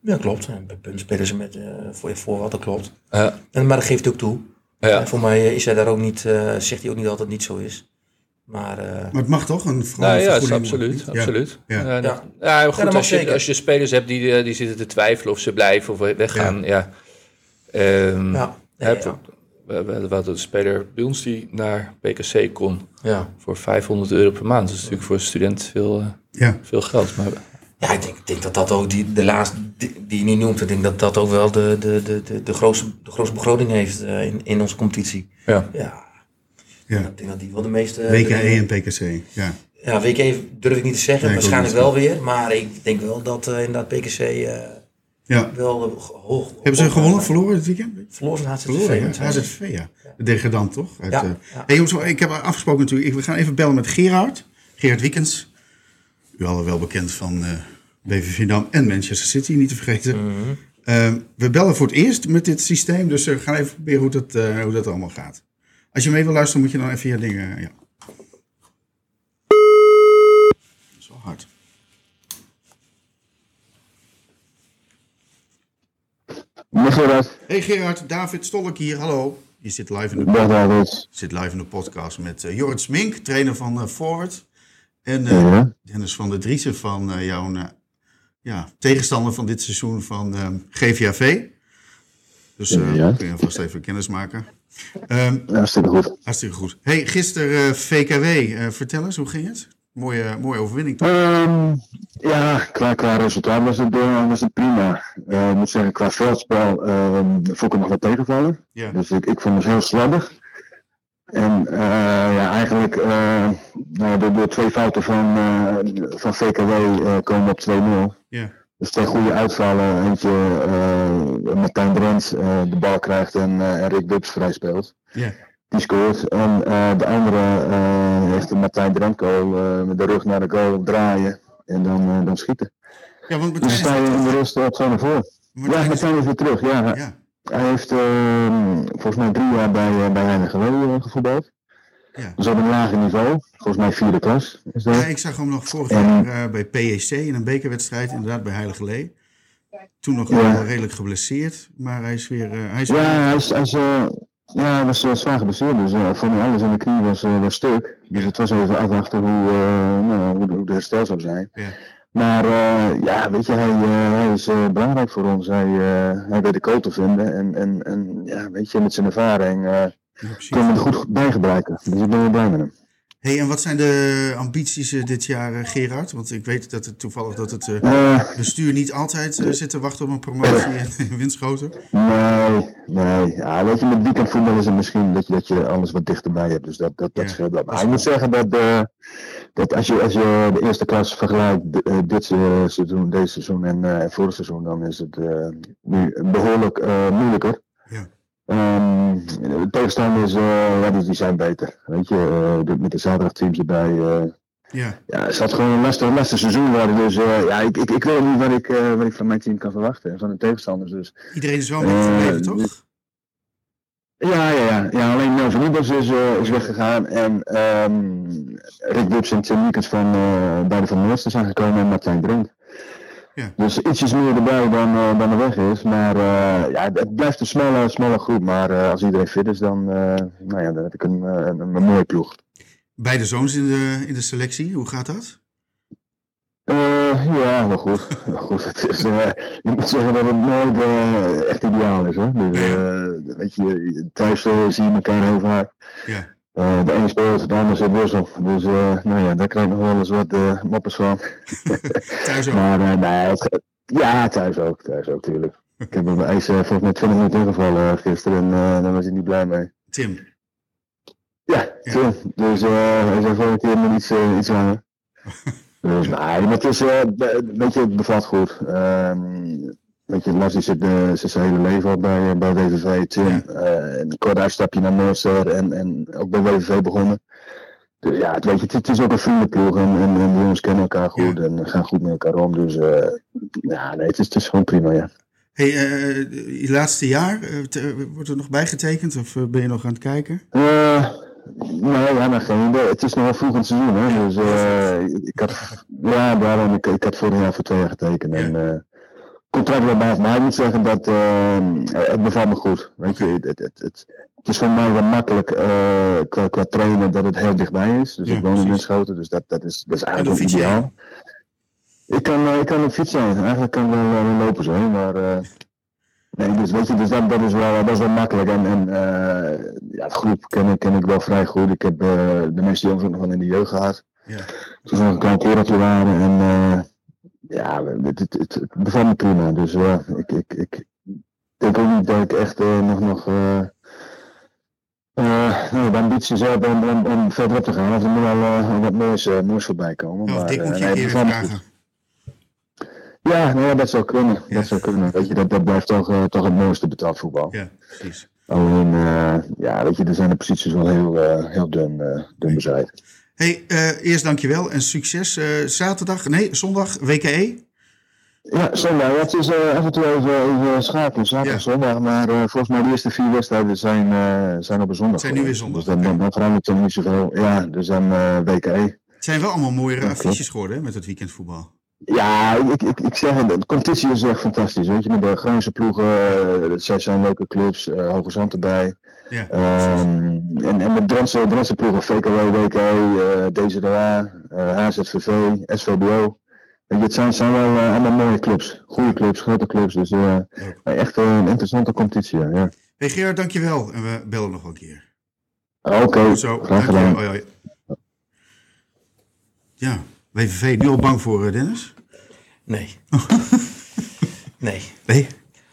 B: Ja, klopt. En Bij punt spelen ze met, eh, voor je voor wat, dat klopt.
C: Ja.
B: En, maar dat geeft hij ook toe.
C: ja.
B: En voor mij eh, is hij daar ook niet, eh, zegt hij ook niet dat het niet zo is. Maar eh,
A: Maar het mag toch? Een
C: Nou ja, is
A: vergoeding?
C: absoluut.
A: Ja.
C: absoluut.
A: Ja.
C: Ja. dat-
B: Ja.
C: ja, maar
B: Ja, dat
C: goed,
B: mag
C: als, je,
B: zeker.
C: als je spelers hebt die, eh, die zitten te twijfelen of ze blijven of weggaan. Ja. Ehm,
B: ja, nee,
C: heb-
B: ja.
C: we, we hadden een speler bij ons die naar PKC kon
B: Ja.
C: voor 500 euro per maand. Dat is natuurlijk voor een student veel, eh,
A: Ja.
C: veel geld. Maar
B: ja, ik denk, ik denk dat dat ook die, de laatste die, die je nu noemt, ik denk dat dat ook wel de, de, de, de, de, grootste, de grootste begroting heeft eh, in, in onze competitie.
C: ja.
B: Ja,
A: ja.
B: ik denk dat die wel de meeste.
A: WK
B: de-
A: en PKC. Ja.
B: Ja, WK durf ik niet te zeggen,
A: Nee, ik ook
B: waarschijnlijk
A: niet.
B: wel weer. Maar ik denk wel dat eh, inderdaad PKC eh,
A: ja.
B: wel eh, hoog. eh,
A: Hebben ze gewonnen, verloren dit weekend?
B: Verloren van HZV.
A: Verloren,
B: want
A: ja.
B: zij-
A: HZV, ja. De degradant, toch? Uit,
B: Ja,
A: eh,
B: ja.
A: Hey, jongens, ik heb afgesproken natuurlijk. ik- We gaan even bellen met Gerard. Gerard Wiekens. U allen wel bekend van eh BVV Dam en Manchester City, niet te vergeten.
B: Mhm.
A: Eh, we bellen voor het eerst met dit systeem. Dus eh, we gaan even proberen hoe dat, eh, hoe dat allemaal gaat. Als je mee wil luisteren, moet je dan even je dingen... eh, Ja. Dat is wel hard.
D: Nicolas,
A: Hey Gerard, David Stolk hier. Hallo. Je zit live in de
D: dag David.
A: Ik zit live in de podcast met eh Jorrit Smink, trainer van eh, Forward. En eh,
D: Ja.
A: Dennis van der Driessen van eh, jouw eh, ja, tegenstander van dit seizoen van eh, GVAV. Dus eh
D: Ja.
A: kun je vast even kennis maken. Ehm,
D: Hartstikke goed.
A: hartstikke goed. Hey, gisteren eh, VKW. eh, vertel eens, hoe ging het? Mooie, mooie overwinning toch?
D: Ehm, ja, qua, qua resultaat was het, eh, was het prima. Eh, ik moet zeggen, qua veldspel ehm, vond ik het nog wel tegenvallen.
A: Ja.
D: Dus ik, ik vond het heel slordig. En eh, ja, eigenlijk eh, nou, door, door twee fouten van, eh, van VKW eh, komen we op 2-0.
A: Ja.
D: Dus twee goede uitvallen. Eentje eh Martijn Drent eh, de bal krijgt en, eh, en Rick Dubs vrij speelt.
A: Ja.
D: Die scoort. En eh, de andere eh, heeft Martijn Dremko eh, met de rug naar de goal draaien. En dan, eh, dan schieten.
A: ja, want
D: Dus dan sta
A: Martijn
D: je
A: is,
D: in de rust op zijn voor. Ja,
A: Martijn is-
D: Martijn is weer terug. Ja.
A: ja,
D: Hij heeft eh, volgens mij drie jaar bij, eh, bij Heineken eh, gevoetbald.
A: Ja.
D: Dus op een lager niveau. Volgens mij vierde klas. Is dat.
A: Ja, ik zag hem nog vorig
D: En-
A: jaar eh, bij PEC in een bekerwedstrijd, inderdaad bij Heilige Lee. Toen nog
D: Ja.
A: wel redelijk geblesseerd, maar hij is weer. eh, hij is
D: Ja,
A: weer-
D: hij, is, hij, is, eh, ja, hij was eh, zwaar geblesseerd, dus eh, van alles in de knie was, eh, was stuk. Dus het was even afwachten hoe, eh, nou, hoe, de- hoe de herstel zou zijn.
A: Ja.
D: Maar eh, ja, weet je, hij, eh, hij is eh, belangrijk voor ons. Hij, eh, hij weet de kool te vinden en, en, en ja, weet je, met zijn ervaring eh
A: Ja, precies.
D: kunnen we het goed bijgebruiken. Dus ik ben wel blij met hem.
A: Hey, en wat zijn de ambities eh, dit jaar, eh, Gerard? Want ik weet dat het toevallig dat het eh,
D: Eh,
A: bestuur niet altijd eh, zit te wachten op een [laughs] promotie in Winschoten.
D: Nee, nee. Ja, weet je, met weekendvoetbal is het misschien dat je, dat je alles wat dichterbij hebt. Dus dat, dat, dat
A: Ja,
D: scheelt wel. Maar ik moet zeggen dat, eh, dat als, je, als je de eerste klas vergelijkt, d- eh, dit eh, seizoen, deze seizoen en eh, vorig seizoen, dan is het eh, nu behoorlijk eh, moeilijker.
A: Ja.
D: Ehm, de tegenstanders, eh, ja, die, die zijn beter. Weet je, eh, de- met de zaterdagteams erbij. eh,
A: Ja,
D: ja, het gaat gewoon een lastig, lastig seizoen worden. Dus eh, ja, ik, ik, ik weet niet wat ik, eh, wat ik van mijn team kan verwachten. en Van de tegenstanders. Dus
A: iedereen is wel mee gebleven, toch?
D: Ja, ja, ja. ja alleen Nelson Rubens is, eh, is weggegaan. En ehm Rick Woods en Tim Niekens van eh beide van Monster zijn gekomen en Martijn Drent.
A: Ja.
D: Dus ietsjes meer erbij dan, eh, dan er weg is. Maar eh, ja, het het blijft een smalle, smalle groep. Maar eh, als iedereen fit is, dan, eh, nou ja, dan heb ik een, eh, een, een mooie ploeg.
A: Beide zoons in de, in de selectie, hoe gaat dat? [laughs]
D: Eh, ja, maar goed. goed het is, eh, je moet zeggen dat het nooit eh, echt ideaal is. Hè? Dus, eh, weet je, thuis eh, zie je elkaar heel vaak.
A: Ja,
D: Eh, de ene speelt, de ander zit wissel. Dus eh, nou ja, daar krijg ik nog wel eens wat eh, moppers van.
A: thuis ook.
D: Maar eh, nee, het- ja, thuis ook. Thuis ook, tuurlijk. Ik heb op mijn ijs eh, volgens mij 20 minuten ingevallen eh, gisteren en eh, daar was hij niet blij mee.
A: Tim,
D: Ja,
A: Ja.
D: tuurlijk. Dus eh, hij zei volgende keer maar iets, eh, iets
A: [laughs]
D: langer. dus nee, maar het is, eh, be- weet je, het bevalt goed. Ehm, weet je, Lars die zit eh, sinds zijn hele leven al bij, eh, bij WVV. Tim,
A: Ja.
D: eh, een kort uitstapje naar Monster en, en ook bij WVV begonnen. Dus ja, het, weet je, het, het is ook een vriendenploeg en, en, en de jongens kennen elkaar goed en gaan goed met elkaar om. Dus eh, ja, nee, het is, het is gewoon prima, ja.
A: hey, eh, je laatste jaar, eh, t- eh, wordt er nog bijgetekend of eh, ben je nog aan het kijken?
D: Eh, nou ja, nou, geen idee. Het is nog wel vroeg in het seizoen, hè. Dus eh, ik had, ja, daarom, ik, ik had vorig jaar voor twee jaar getekend. En eh, contract wel bij, maar ik moet zeggen dat eh, het bevalt me goed. Weet je, het, het, het, het- het is voor mij wel makkelijk eh, qua, qua trainen dat het heel dichtbij is. Dus
A: Ja,
D: ik woon in
A: precies.
D: Winschoten, dus dat, dat, is, dat is eigenlijk
A: dan
D: ook
A: fiets je
D: ideaal. Ik kan, eh, ik kan op fiets zijn. Eigenlijk kan ik wel, wel wel lopen zo, hè, maar... eh, Nee, dus weet je, dus dat, dat, is, wel, dat is wel makkelijk. En, en eh, ja, het groep ken, ik- ken ik wel vrij goed. Ik heb eh, de meeste jongens ook nog wel in de jeugd gehad.
A: Ja.
D: Toen ze nog een klein kereltje waren. En eh, ja, het, het, het, het bevalt me prima. Dus ja, ik, ik, ik denk ook niet dat ik echt eh, nog, nog eh, eh, nou, de ambities heb om, om, om verder op te gaan. Of er moet wel eh, wat moois, eh, moois voorbij komen.
A: Of
D: maar,
A: Dick
D: eh,
A: moet je
D: nee, het
A: eerder
D: bevalt me goed.
A: vragen.
D: Ja, nou ja, dat zou kunnen.
A: Ja.
D: Dat zou kunnen. Weet je, dat, dat blijft toch, eh, toch het mooiste betaald voetbal.
A: Ja, precies.
D: Alleen, eh, ja, weet je, er zijn de posities wel heel, eh, heel dun, eh, dun bezaaid.
A: hey, eh, eerst dankjewel en succes. eh, zaterdag, nee, zondag, E. WKE.
D: Ja, zondag. Ja, het is eh af en toe even, even schakelen, zaterdag,
A: Ja.
D: zondag. Maar eh, volgens mij de eerste vier wedstrijden zijn, eh, zijn op een zondag.
A: Zijn nu weer
D: geweest.
A: zondag,
D: Dus dan, dan, dan verandert er niet zoveel. Ja, dus dan eh WKE.
A: Het zijn wel allemaal mooiere
D: Ja, klopt.
A: affiches geworden hè, met het weekendvoetbal.
D: Ja, ik, ik, ik zeg het, de competitie is echt fantastisch. Weet je, met de Groningse ploegen, eh, dat zijn- zijn leuke clubs, eh Hoge Zand erbij.
A: Ja,
D: Ehm, en, en met Drentse, Drentse ploegen, VKW, WK, eh DZDA, eh, HZVV, SVBO. Weet je, het zijn, zijn wel eh, allemaal mooie clubs. Goede clubs, grote clubs. Dus eh, echt eh, een interessante competitie, ja. ja.
A: hey, Gerard, dankjewel. En we bellen nog wel een keer.
D: Ah, Oké,
A: Zo,
D: graag
A: dankjewel.
D: gedaan.
A: Hoi, hoi. Ja, WVV, nu al bang voor eh, Dennis? [laughs]
B: Nee. nee.
A: Nee.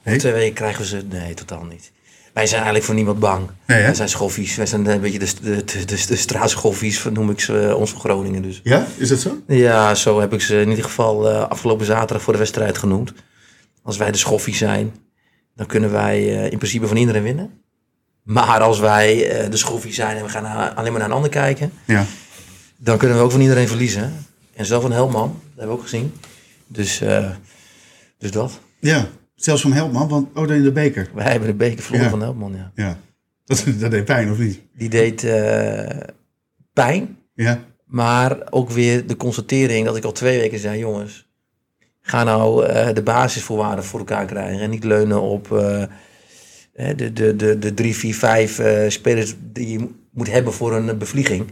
B: Om twee weken krijgen we ze. Nee, totaal niet. Wij zijn eigenlijk voor niemand bang.
A: Nee, hè?
B: wij zijn schoffies. Wij zijn een beetje de, de, de, de, de straatschoffies, noem ik ze, eh, ons van Groningen dus.
A: Ja, is dat zo?
B: Ja, zo heb ik ze in ieder geval eh, afgelopen zaterdag voor de wedstrijd genoemd. Als wij de schoffie zijn, dan kunnen wij eh, in principe van iedereen winnen. Maar als wij eh, de schoffie zijn en we gaan naar- alleen maar naar een ander kijken,
A: Ja.
B: dan kunnen we ook van iedereen verliezen. En zelf van Helman, dat hebben we ook gezien. Dus, eh, dus dat.
A: Ja, zelfs van Helpman, want oh, dan in de beker.
B: Wij hebben de beker verloren
A: Ja.
B: van Helman, ja.
A: Ja, [laughs] dat, dat deed pijn, of niet?
B: Die deed eh, pijn,
A: Ja,
B: maar ook weer de constatering dat ik al twee weken zei, jongens, ga nou eh, de basisvoorwaarden voor elkaar krijgen en niet leunen op eh, hè, de, de, de, de drie, vier, vijf eh, spelers die je mo- moet hebben voor een eh, bevlieging.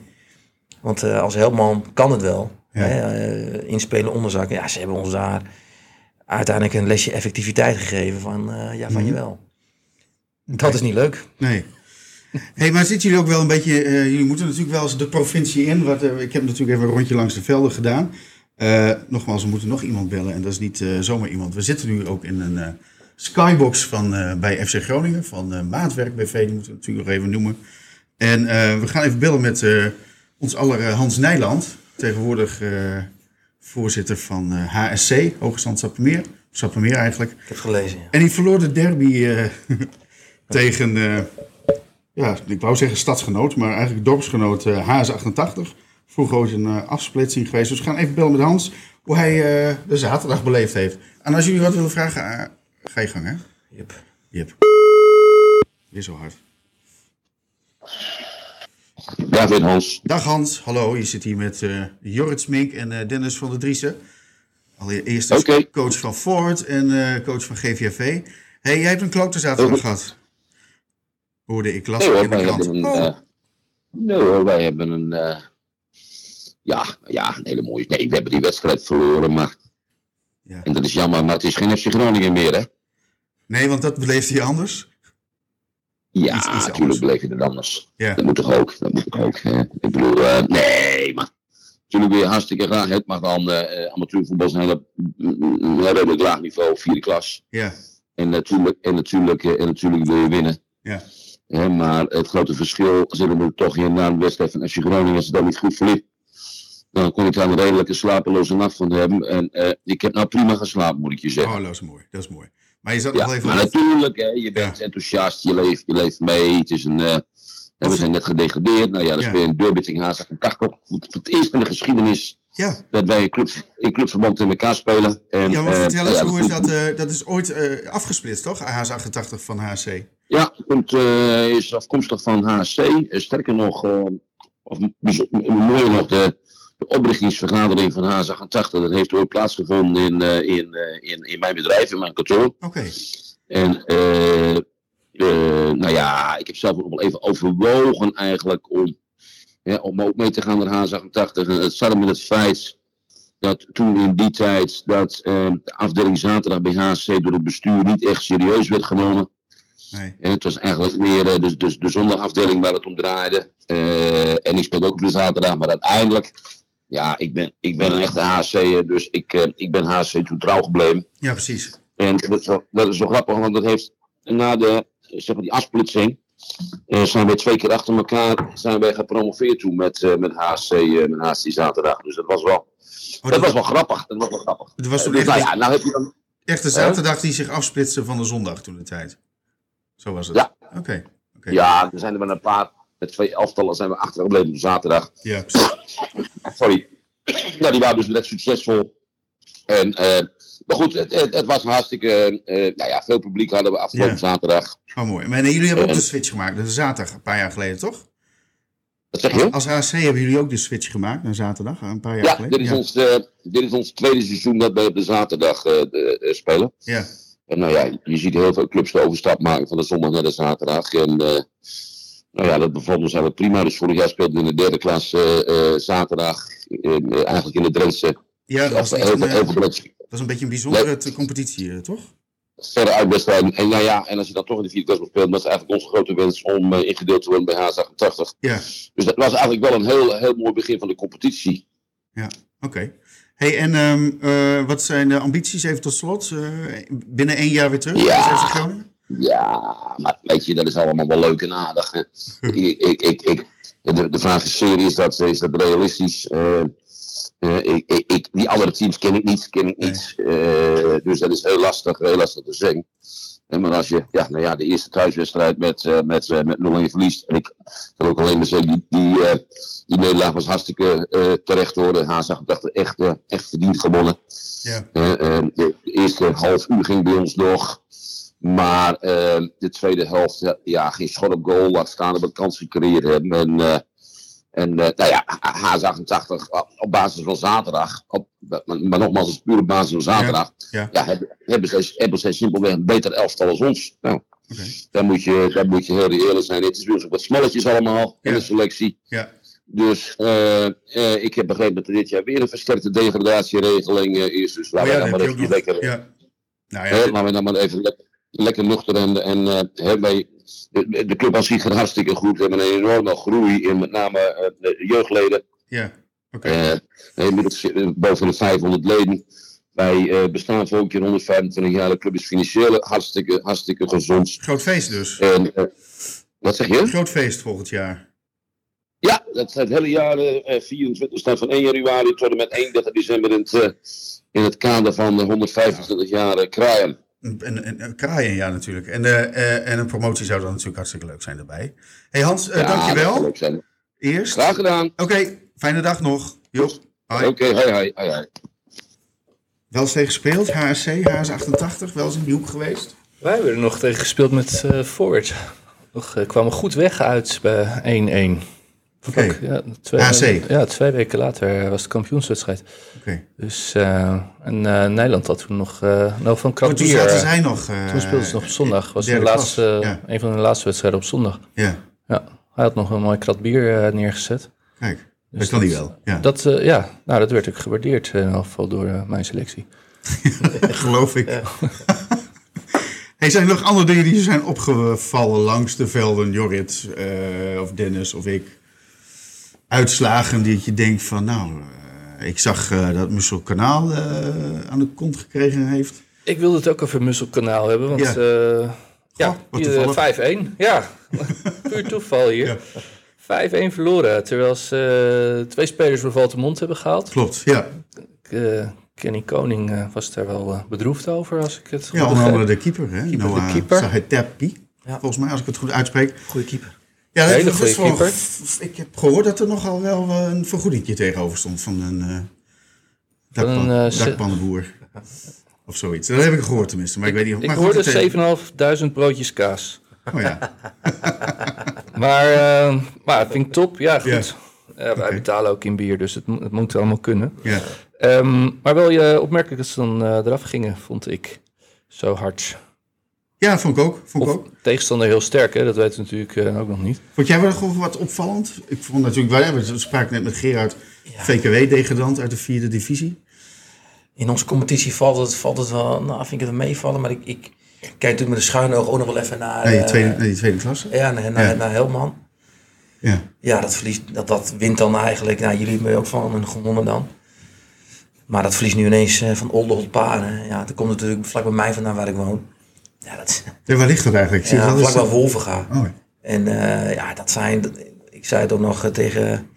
B: Want eh, als helpman kan het wel.
A: Ja.
B: Hè, eh, inspelen, onderzakken. Ja, ze hebben ons daar uiteindelijk een lesje effectiviteit gegeven van, eh, ja, van je wel. Dat is niet leuk.
A: nee. hey, maar zitten jullie ook wel een beetje... eh, jullie moeten natuurlijk wel eens de provincie in. Wat, eh, ik heb natuurlijk even een rondje langs de velden gedaan. Eh, nogmaals, we moeten nog iemand bellen. En dat is niet eh, zomaar iemand. We zitten nu ook in een eh, skybox van, eh, bij FC Groningen. Van eh, Maatwerk BV, die moeten we natuurlijk nog even noemen. En eh, we gaan even bellen met eh, ons aller eh, Hans Nijland. Tegenwoordig eh, voorzitter van eh, HSC, Hoogstand Sappemeer. Sappemeer eigenlijk.
B: Ik heb het gelezen, ja.
A: En die verloor de derby eh, [laughs] tegen, eh, ja, ik wou zeggen stadsgenoot, maar eigenlijk dorpsgenoot eh HS88. Vroeger ooit een eh, afsplitsing geweest. Dus we gaan even bellen met Hans hoe hij eh, de zaterdag beleefd heeft. En als jullie wat willen vragen, eh, ga je gang hè.
B: Yep.
A: Jip. Weer zo hard.
E: Dag Wit Hans.
A: Dag Hans, hallo. Je zit hier met eh Jorrit Smink en eh, Dennis van der Driessen. Allereerst is
E: Oké.
A: coach van Ford en eh, coach van GVV. hey, jij hebt een klote zaterdag
E: Heel goed.
A: gehad. Hoorde ik, las
E: Oh. Nee
A: ik in de
E: hoor, wij
A: krant.
E: hebben een.
A: Oh,
E: eh, nee hoor, wij hebben een. eh, ja, ja, een hele mooie. Nee, we hebben die wedstrijd verloren, maar.
A: Ja.
E: En dat is jammer, maar het is geen FC Groningen meer, hè?
A: Nee, want dat beleefde je anders.
E: Ja,
A: Iets- iets anders.
E: natuurlijk bleef je het anders.
A: Ja.
E: Dat moet toch ook? Dat moet toch ook. hè? Ik bedoel, eh, nee, maar. Natuurlijk weer hartstikke graag, het mag dan eh, eh, amateurvoetbal is een hele- een redelijk laag niveau, vierde klas.
A: Ja,
E: En natuurlijk, en natuurlijk, eh, en natuurlijk wil je winnen.
A: Ja.
E: Hè, maar het grote verschil zit hem er toch in na een wedstrijd van FC Groningen. Als het dan niet goed verliep, dan kon ik daar een redelijke slapeloze nacht van hebben. En eh, ik heb nou prima geslapen, moet ik je zeggen.
A: oh, dat is mooi. Dat is mooi. Maar je zat
E: ja,
A: nog even...
E: maar natuurlijk, hè, je bent
A: Ja.
E: enthousiast, je leeft, je leeft mee. Het is een, eh, hè, we zijn net gedegradeerd. Nou ja, dat is
A: Ja.
E: weer een deurbitting haast een kakkel. Voor het eerst in de geschiedenis
A: Ja,
E: dat wij in, club, in clubverband in elkaar spelen. En,
A: ja maar
E: eh,
A: vertel eens,
E: ja,
A: hoe is
E: goed,
A: dat... eh, dat is ooit eh, afgesplitst, toch? AH88 van HC.
E: Ja, komt, eh, is afkomstig van HSC. Eh, sterker nog, eh, of bijzo- m- mooier nog, de, de oprichtingsvergadering van H88, dat heeft ooit plaatsgevonden in, eh, in, eh, in, in mijn bedrijf, in mijn kantoor.
A: Oké,
E: En eh, eh, nou ja, ik heb zelf ook wel even overwogen eigenlijk om, hè, om ook mee te gaan naar H88. En het staat met het feit dat toen in die tijd dat eh, de afdeling zaterdag bij HSC door het bestuur niet echt serieus werd genomen.
A: nee.
E: En het was eigenlijk meer eh, dus, dus de zondagafdeling waar het om draaide. Eh, en ik speelde ook op de zaterdag, maar uiteindelijk... Ja, ik ben, ik ben een echte HC'er, dus ik, eh, ik ben HC toen trouw gebleven.
A: Ja, precies. Oh,
E: En dat is, wel, dat is wel grappig, want dat heeft na de, zeg maar die afsplitsing... eh, zijn we twee keer achter elkaar zijn wij gepromoveerd toen met, eh, met, HC, eh, met HC zaterdag. Dus dat was wel,
A: Oh,
E: dat
A: dat,
E: was wel grappig. Dat was wel grappig.
A: dat was toen
E: Dus
A: echt,
E: nou ja, nou heb je dan...
A: echt de
E: Oh.
A: zaterdag die zich afsplitste van de zondag toen de tijd. Zo was het.
E: Ja.
A: Oké. oké.
E: Ja, er zijn er maar een paar... Met twee elftallen zijn we achtergebleven op zaterdag.
A: Ja, precies.
E: sorry. Nou, die waren dus net succesvol. En, eh, maar goed, het, het, het was hartstikke. eh, nou ja, veel publiek hadden we afgelopen
A: Ja.
E: zaterdag.
A: Oh, mooi. Maar jullie hebben ook
E: En-
A: de switch gemaakt. Dat is zaterdag, een paar jaar geleden, toch?
E: Dat zeg je?
A: Als, als HC hebben jullie ook de switch gemaakt naar zaterdag, een paar jaar
E: ja,
A: geleden.
E: dit is, Ons, eh, dit is ons tweede seizoen dat we op de zaterdag eh, de- eh, spelen.
A: ja.
E: En nou ja, je ziet heel veel clubs de overstap maken van de zondag naar de zaterdag. En eh, nou ja, dat bevalt ons eigenlijk prima. Dus vorig jaar speelden we in de derde klas eh, eh, zaterdag. eh, eh, eigenlijk in de Drentse.
A: ja, dat was,
E: Of, eh,
A: echt
E: heel
A: een,
E: veel-
A: eh,
E: heel veel Drentse
A: dat was een beetje een bijzondere te- competitie, eh, toch?
E: verder uitwedstrijden. En nou ja, en als je dan toch in de vierde klas moet spelen, dat is eigenlijk onze grote wens om eh, ingedeeld te worden bij H88.
A: Ja, oké.
E: Dus dat was eigenlijk wel een heel, heel mooi begin van de competitie.
A: hey, en ehm, eh, wat zijn de ambities even tot slot? eh, binnen één jaar weer terug?
E: Ja.
A: bij FC Groningen?
E: Ja, maar weet je, dat is allemaal wel leuk en aardig. hè. ik, ik, ik, ik, de, de vraag is serieus, is dat, is dat realistisch? Eh, eh, ik, ik, ik- die andere teams ken ik niet, ken ik niet. Eh, dus dat is heel lastig, heel lastig te zeggen. Eh, maar als je ja, nou ja, de eerste thuiswedstrijd met, eh, met, eh, met 0-1 verliest. En ik kan ook alleen maar zeggen, die, die, eh, die nederlaag was hartstikke eh, terecht hoor. De H88 echt, eh, echt verdiend gewonnen.
A: Ja.
E: Eh, eh, de eerste half uur ging bij ons nog. Maar eh, de tweede helft, ja, ja, geen schot op goal. Laat staan dat we een kans gecreëerd hebben. En, eh, en eh, nou ja, H88 op basis van zaterdag. Op, maar, maar nogmaals, het is puur op basis van zaterdag.
A: ja.
E: hebben, hebben, zij, hebben zij simpelweg een beter elftal als ons. Nou,
A: Oké. Oh
E: daar, moet je, daar moet je heel eerlijk zijn. Het is weer zo wat smalletjes allemaal in
A: Ja.
E: de selectie.
A: Ja.
E: Dus eh, eh, ik heb begrepen dat er dit jaar weer een versterkte degradatieregeling eh, is. Dus
A: Oh
E: laten
A: ja,
E: we
A: dat
E: dan maar
A: heb je ook
E: even
A: nog.
E: lekker
A: Ja. Nou
E: Hè,
A: ja,
E: laten we dan maar even lekker, lekker nuchter en, en eh, hè, wij, de, de club als zich gaat hartstikke goed. We hebben een enorme groei in met name eh, de jeugdleden.
A: ja. Oké.
E: Eh, inmiddels eh, boven de 500 leden. Wij eh, bestaan voor een keer 125 jaar. De club is financieel hartstikke, hartstikke gezond.
A: Groot feest dus.
E: En, eh, wat zeg je?
A: Groot feest volgend jaar.
E: Ja, dat staat het hele jaar eh, eh, 24 staat van 1 januari tot en met 31 december in het, eh, in het kader van de 125 jaar eh, kraaien.
A: En, en, en kraaien, ja, natuurlijk. En, eh, eh, en een promotie zou dan natuurlijk hartstikke leuk zijn daarbij. hey Hans, eh,
E: Ja, dat zal
A: dankjewel.
E: ook zijn.
A: Eerst.
E: Graag gedaan.
A: Oké, fijne dag nog. Joep. Hoi.
E: Oké, hoi, hoi, hoi, hoi.
A: Wel eens tegen gespeeld, HSC, HS88, wel eens in de hoek geweest.
C: Wij hebben er nog tegen gespeeld met eh Forward. Toch, eh, kwamen goed weg uit bij 1-1.
A: Oké.
C: Ook, Ja, twee,
A: AC.
C: ja, twee weken later eh, was de kampioenswedstrijd.
A: Oké.
C: Dus, eh, en eh, Nederland had toen nog... eh, nou, van
A: Maar toen
C: Krakbier...
A: zaten zij nog... eh,
C: Toen speelden ze nog op zondag. Was de
A: derde
C: laatste,
A: klas, ja.
C: een van de laatste wedstrijden op zondag.
A: Ja,
C: Ja, hij had nog een mooi krat bier eh, neergezet.
A: kijk.
C: Dus
A: dat kan hij wel. Ja,
C: Dat, eh, ja, nou, dat werd ook gewaardeerd eh, in elk geval door eh, mijn selectie.
A: geloof ik. [laughs] hey, zijn er nog andere dingen die je zijn opgevallen langs de velden? Jorrit eh, of Dennis of ik. Uitslagen die je denkt van... Nou, eh, ik zag eh, dat Mussel Kanaal eh, aan de kont gekregen heeft.
C: Ik wilde het ook over Musselkanaal hebben, want
A: Ja. Oh,
C: ja, ja
A: wat
C: hier,
A: toevallig.
C: eh, 5-1.
A: [laughs]
C: Ja, puur toeval hier. 5-1 verloren, terwijl ze eh, twee spelers voor Valtemont hebben gehaald.
A: Klopt, ja.
C: Eh, Kenny Koning eh, was daar wel eh, bedroefd over, als ik het goed
A: Ja, onder
C: begreep.
A: andere de keeper. Hè?
C: Keeper, de
A: Noah
C: keeper.
A: Sahetepi,
B: Ja.
A: Volgens mij, als ik het goed uitspreek.
B: Goede keeper.
A: Ja,
C: Hele
A: dat is wel-
C: goede keeper.
A: f- Ik heb gehoord dat er nogal wel eh, een vergoedingje tegenover stond van een, eh
C: Van
A: dakpan,
C: een, eh,
A: dakpannenboer. Of zoiets. Dat heb ik gehoord tenminste. Maar ik, weet niet of-
C: Ik
A: maar goed, het, eh,
C: hoorde 7.500 broodjes kaas.
A: Oh, ja.
C: Maar, eh, maar vind ik top. Ja, goed.
A: Ja.
C: Eh, wij
A: Oké.
C: betalen ook in bier, dus het, mo- het moet allemaal kunnen. [laughs]
A: ja.
C: Ehm, maar wel je opmerkelijk dat ze dan eh, eraf gingen, vond ik. Zo hard.
A: ja, vond ik ook. Vond, ik
C: Of
A: ook.
C: tegenstander heel sterk, hè? dat weten we natuurlijk eh, ook nog niet.
A: vond jij wel nog wat opvallend? Ik vond natuurlijk, wij hebben, we spraken net met Gerard, VKW-degradant uit de vierde divisie.
B: In onze competitie valt het, valt het wel, nou vind ik het wel meevallen, maar ik, ik kijk natuurlijk met een schuine oog ook nog wel even naar,
A: Nee, die
B: eh,
A: tweede, nee, die tweede klasse.
B: ja, naar, naar,
A: Ja.
B: naar Helman.
A: Ja.
B: Ja, dat, verliest, dat, dat wint dan eigenlijk, nou jullie hebben er ook van een gewonnen dan. Maar dat verliest nu ineens eh, van Oldenholt Paren. Ja, dat komt natuurlijk vlak bij mij vandaan waar ik woon. Ja, dat is
A: Ja, waar ligt dat eigenlijk? Ik zie
B: ja,
A: het wel
B: vlak
A: eens-
B: bij Wolvenga.
A: Oh, ja.
B: En eh, ja, dat zijn. dat- Ik zei het ook nog eh, tegen,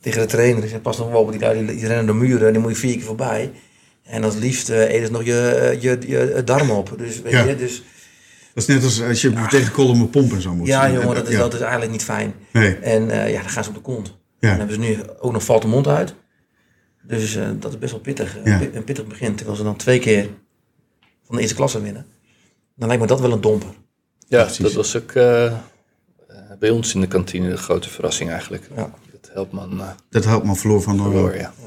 B: tegen de trainer. Ik zei: Pas nog wel op, die, lui, die, die rennen de muren, die moet je vier keer voorbij. En als liefst eh eet het nog je, eh, je, je, eh, darm op. Dus weet
A: Ja.
B: je, dus
A: Dat is net als eh, als je tegen kolommen pompen zou moeten.
B: ja,
A: doen.
B: jongen, dat is,
A: Ja.
B: dat is eigenlijk niet fijn.
A: Nee.
B: En eh, ja, dan gaan ze op de kont.
A: Ja.
B: En dan hebben ze nu ook nog valt de mond uit. Dus eh, dat is best wel pittig. eh,
A: Ja.
B: pi- Een pittig begin. Terwijl ze dan twee keer van de eerste klasse winnen. Dan lijkt me dat wel een domper.
C: Ja,
A: precies.
C: dat was ook eh, eh, bij ons in de kantine de grote verrassing eigenlijk.
B: Ja.
C: Dat helpt man eh,
A: Dat helpt me verloor van
C: verloren,
A: Noorwegen.
C: ja.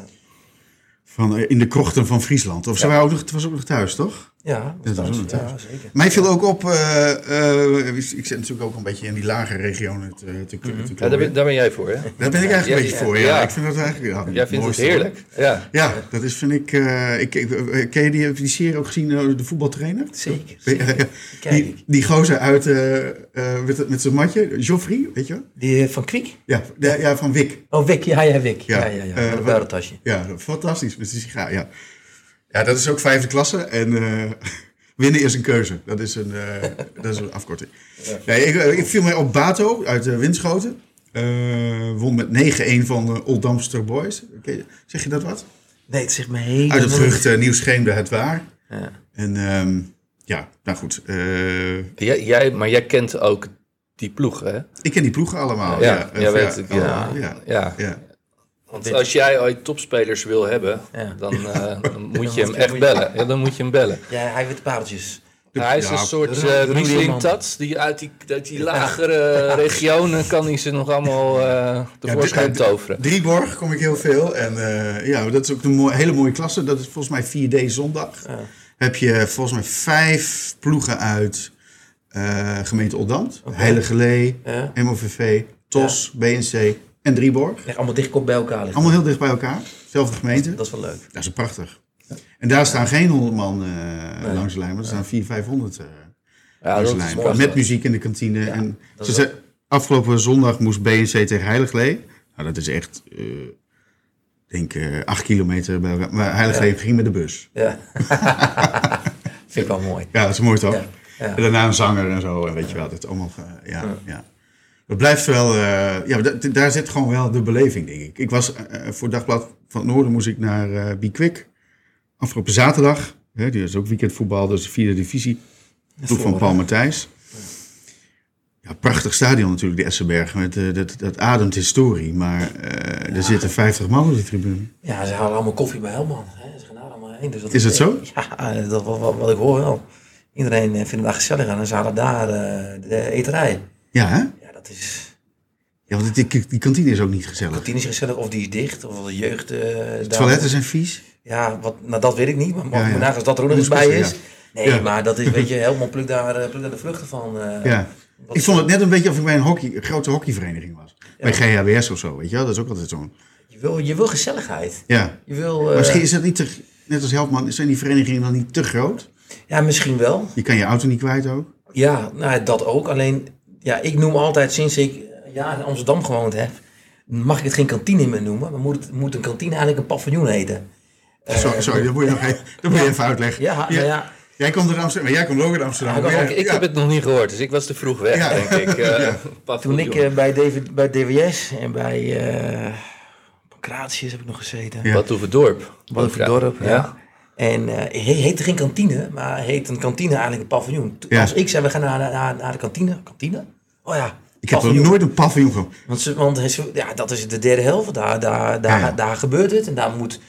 A: Van, eh, in de krochten van Friesland. Of ze waren ook nog, het was ook nog thuis, toch?
B: Ja,
A: Dat is ook
B: ja zeker.
A: Mij viel ook op, eh, eh, ik zit natuurlijk ook een beetje in die lage regionen te, te, te,
C: Mhm. Ja, daar, ben, daar ben jij voor, hè?
A: Daar ben ik eigenlijk een
C: Ja,
A: beetje
C: ja,
A: voor, ja.
C: ja.
A: Ik vind dat eigenlijk... ja,
C: Jij vindt het
A: mooiste.
C: heerlijk. Ja.
A: Ja, dat is, vind ik, eh, ik, ik- eh, Ken je die, heb je die serie ook gezien, eh, de voetbaltrainer?
B: Zeker. Kijk.
A: [laughs] Die, die gozer uit, eh, eh, met, met zijn matje, Joffrey, weet je wel?
B: Die eh, van Kwiek?
A: Ja, de- ja van Wik.
B: Oh, Wik. Ja, ja, Wik.
A: Ja,
B: Ja, ja,
A: eh,
B: ja. Met een
A: wat-
B: buideltasje.
A: Ja, fantastisch met die sigaar. Ja. ja, dat is ook vijfde klasse. En eh, [laughs] winnen is een keuze. Dat is een, eh, dat is een [laughs] afkorting. Nee, ik, eh, ik viel mij op Bato uit eh, Winschoten. Eh, won met 9-1 van eh, Old Damster Boys. Ken je- Zeg je dat wat?
B: Nee, het zegt me helemaal
A: Uit het
B: niks.
A: gerucht eh, nieuw scheemde het waar.
B: Ja.
A: En ehm, ja, nou goed. eh,
C: Jij, jij, maar jij kent ook die ploeg, hè?
A: ik ken die ploegen allemaal.
C: Ja,
A: ja,
C: jij
A: Of,
C: weet het, ja.
A: allemaal, ja.
C: Ja.
A: ja.
C: Want als jij ooit topspelers wil hebben,
B: Ja.
C: dan, [laughs] eh, dan moet je hem
B: moet
C: echt
B: je-
C: bellen. Ja, dan moet je hem bellen.
B: Ja, hij weet de pareltjes.
C: hij is
A: ja,
C: een soort
B: dat is een
C: eh
B: ruwe
C: Michelin
B: man.
C: tat die uit die, uit die lagere [laughs] regionen kan hij ze nog allemaal eh tevoorschijn
A: d-
C: toveren.
A: Drieborg kom ik heel veel. En eh, ja, dat is ook een mooi- hele mooie klasse. Dat is volgens mij 4D zondag.
B: Ja.
A: Heb je volgens mij vijf ploegen uit eh, gemeente Oldambt. Heilige Lee,
B: Ja.
A: MOVV, TOS, BNC en Drieborg.
B: Echt allemaal dichtkop bij elkaar liggen.
A: Allemaal heel dicht bij elkaar. Zelfde gemeente.
B: Dat is wel leuk.
A: Dat is prachtig. En daar staan geen 100 man eh, langs de lijn, maar er staan 400, 500 eh,
C: Ja,
A: langs
C: dat
A: de
C: is
A: lijn.
C: mooi.
A: Met muziek in de kantine. en
B: dat
A: ze
B: is
A: zei, afgelopen zondag moest BNC tegen Heiliglee. Nou, dat is echt, eh, denk eh acht kilometer bij elkaar. Maar Heiliglee ging met de bus.
B: Ja. [laughs] Vind ik wel mooi.
A: Ja, dat is mooi toch?
B: Ja, ja.
A: En daarna een zanger en zo. En weet je wel, dat allemaal. eh, ja, ja. Het blijft wel. eh, ja, da- daar zit gewoon wel de beleving, denk ik. Ik was eh, eh, voor Dagblad van het Noorden moest ik naar eh Be Quick. Afgelopen zaterdag. Hè, die is ook weekendvoetbal, dus de vierde divisie. Ploeg van Paul Matthijs. Ja, prachtig stadion natuurlijk, de Essenberg. Met, eh, dat, dat ademt historie, maar eh, er zitten 50 man op de tribune.
B: Ja, ze halen allemaal koffie bij Helman. Hè. Ze gaan daar allemaal heen. Dus dat
A: Is het zo?
B: [laughs] Ja, dat, wat, wat, wat ik hoor wel. Iedereen eh, vindt het daar gezellig aan. En ze halen daar eh, de eterij.
A: Ja, hè?
B: Ja, dat is...
A: Ja, want die, die kantine is ook niet gezellig.
B: Kantine is gezellig, of die is dicht, of de jeugd... eh, daar-
A: Toiletten zijn vies.
B: Ja, wat, nou dat weet ik niet, maar
A: Ja, ja.
B: vandaag als dat er ook nog eens
A: Moest
B: bij
A: kosten,
B: is...
A: ja.
B: Nee,
A: Ja.
B: maar
A: [laughs]
B: dat is, weet je, helemaal pluk daar, eh, pluk daar de vruchten van. eh.
A: Ja.
B: Wat-
A: Ik vond het net een beetje of ik bij een, hockey, een grote hockeyvereniging was. Bij GHWS of zo, weet je wel? Dat is ook altijd zo'n...
B: Je wil, je wil gezelligheid.
A: Ja.
B: Je wil... eh,
A: Maar misschien is dat niet te... Net als Helpman, zijn die verenigingen dan niet te groot?
B: Ja, misschien wel.
A: Je kan je auto niet kwijt ook.
B: Ja, nou, dat ook. Alleen, ja, ik noem altijd sinds ik eh, jaren in Amsterdam gewoond heb, mag ik het geen kantine meer noemen. Maar moet, het- moet een kantine eigenlijk een paviljoen heten?
A: Sorry, sorry dat moet je nog even, dat moet je even uitleggen.
B: Eh, Ja, nou ja.
A: Jij komt uit Amsterdam, maar jij komt ook uit Amsterdam.
B: Ja, ik
A: Maar
C: Ik,
A: jij-
C: ik
A: ja.
C: heb het nog niet gehoord, dus ik was te vroeg weg,
A: Ja.
C: denk ik. Eh,
A: Ja.
B: Toen
C: paviljoen.
B: ik eh, bij, DV, bij DWS en bij eh Pancratius heb ik nog gezeten.
A: Ja.
C: Wat hoeveel dorp?
B: eh, Wat een dorp, ja.
C: ja.
B: En eh he- heette geen kantine, maar heet een kantine eigenlijk een paviljoen. Toen-
A: Ja.
B: Als ik zei, we gaan naar, naar, naar de kantine. Kantine? Oh ja,
A: Ik heb nog
B: paviljoen.
A: nooit een paviljoen gehad.
B: Want, ze, want het- ja, dat is de derde helft. Daar, daar, daar,
A: Ja, ja.
B: daar gebeurt het. En daar moet,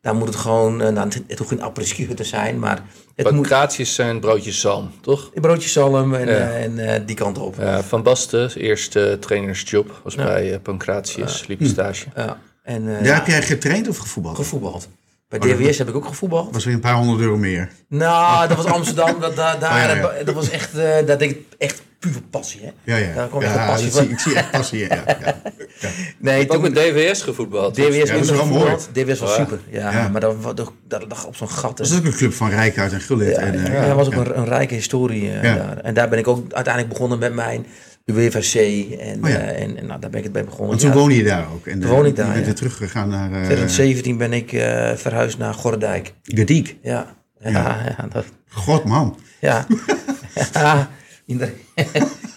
B: daar moet het gewoon... eh, Nou, het, het hoeft geen apres-ski te zijn, maar... Het moet
C: Pancratius zijn broodjes zalm, toch?
B: broodjes zalm en,
C: Ja.
B: eh, en eh, die kant op.
C: Ja, van Basten, eerste trainersjob, was bij eh,
A: Ah.
C: Pancratius, liep
A: Hm.
C: stage.
B: Ja. En eh,
A: Daar heb jij getraind of gevoetbald?
B: gevoetbald. Bij
A: Oh, dat-
B: DWS heb ik ook gevoetbald.
A: was weer een paar honderd euro meer.
B: Nou, dat was Amsterdam. Dat, daar, daar,
A: Oh, ja, ja.
B: heb- Dat was echt, eh daar denk ik echt puur passie, hè?
A: Ja, ja.
B: Daar kwam echt
A: ja,
B: een passie
A: dat
B: van.
A: zie, ik zie echt passie. Ja, ja, ja.
B: Nee,
C: Ik heb
B: toen,
C: ook met DWS gevoetbald. dus-
B: DWS
A: dat
B: minder
A: is wel mooi.
B: gevoetbald. DWS was
C: Ja.
B: super. Ja,
A: Ja.
B: maar dat, dat, dat lag op zo'n gat. hè.
A: Dat is ook een club van Rijkaard en Gullit.
B: Ja,
A: en, eh,
B: ja, er was ook een, een rijke historie eh,
A: Ja.
B: daar. En daar ben ik ook uiteindelijk begonnen met mijn UEFA C. En,
A: Oh ja.
B: eh, en, en nou, daar ben ik het bij begonnen.
A: Want toen
B: Ja,
A: woonde je daar ook. eh, En eh,
B: Toen woonde ik daar,
A: Je bent
B: ja.
A: weer teruggegaan naar eh,
B: In 2017 ben ik eh, verhuisd naar Gordijk.
A: Gediek.
B: Ja. Ja,
A: Ja.
B: ja. [laughs] dat,
A: God, man.
B: ja. [laughs] Ah, ja. [laughs] Ieder-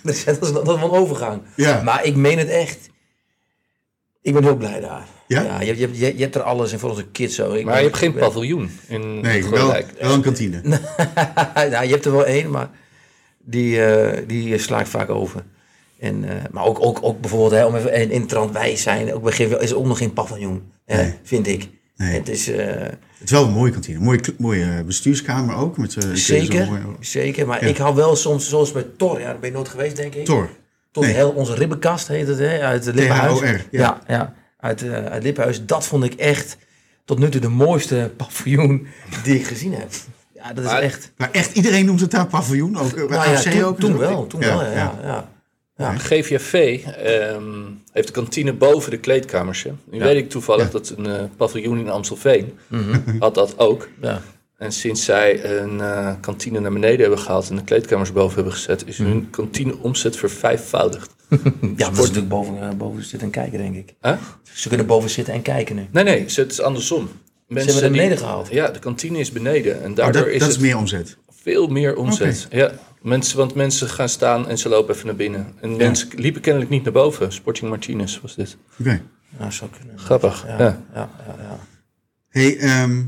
B: dat is dat is wel een overgang.
A: Ja.
B: Maar ik meen het echt. Ik ben heel blij daar.
A: Ja?
B: je, je, je, je hebt er alles in voor onze kids zo. Ik
C: Maar je hebt geen
B: [laughs] pad.
C: paviljoen in
A: Nee, wel,
C: Groenwijk.
A: wel een kantine.
B: nou, je hebt er wel één, maar die, eh, die sla ik vaak over. En, eh, maar ook, ook, ook bijvoorbeeld, hè, om even in, in wijs zijn, ook bij GVL is er ook nog geen paviljoen, hè, vind ik.
A: Nee.
B: Het is eh,
A: Het is wel een mooie kantine. Mooie, cl- mooie eh, bestuurskamer ook. Met, eh, kun je
B: zeker,
A: zo'n mooie-
B: zeker, maar
A: Ja.
B: ik hou wel soms, zoals bij Tor, ja, daar ben je nooit geweest, denk ik.
A: Tor.
B: Tot
A: Nee.
B: heel onze ribbenkast heet het, hè, uit het Lippenhuis.
A: THOR, ja.
B: ja. ja, uit, eh, uit Lippenhuis. Dat vond ik echt tot nu toe de mooiste paviljoen die ik gezien heb. Ja, dat is
C: Maar-
B: echt.
A: Maar echt, iedereen noemt het daar paviljoen. Ook, eh, bij
B: Nou ja,
A: AFC
B: toen,
A: ook.
B: toen
A: Zo.
B: wel, toen wel, ja. ja, ja.
C: GVV ehm, heeft de kantine boven de kleedkamers. hè. Nu weet ik toevallig dat een eh, paviljoen in Amstelveen had dat ook.
B: Mhm. Ja.
C: En sinds zij een eh, kantine naar beneden hebben gehaald en de kleedkamers boven hebben gezet, is
B: Mhm.
C: hun kantineomzet vervijfvoudigd.
B: Ja, maar dat is natuurlijk boven, eh, boven zitten en kijken, denk ik.
C: Huh?
B: Ze kunnen boven zitten en kijken nu.
C: Nee, nee, het is andersom. Mensen
B: hebben het
C: die-
B: beneden gehaald.
C: Ja, de kantine is beneden. En
A: Maar
C: daardoor
A: dat,
C: is
A: dat
C: het
A: is meer omzet.
C: veel meer omzet. Ja, mensen, want mensen gaan staan en ze lopen even naar binnen. En mensen liepen kennelijk niet naar boven. Sporting Martinez was dit.
A: Oké.
B: Nou, zou kunnen.
C: Grappig.
B: Ja,
C: Ja.
B: ja, ja. ja,
A: Hey, ehm,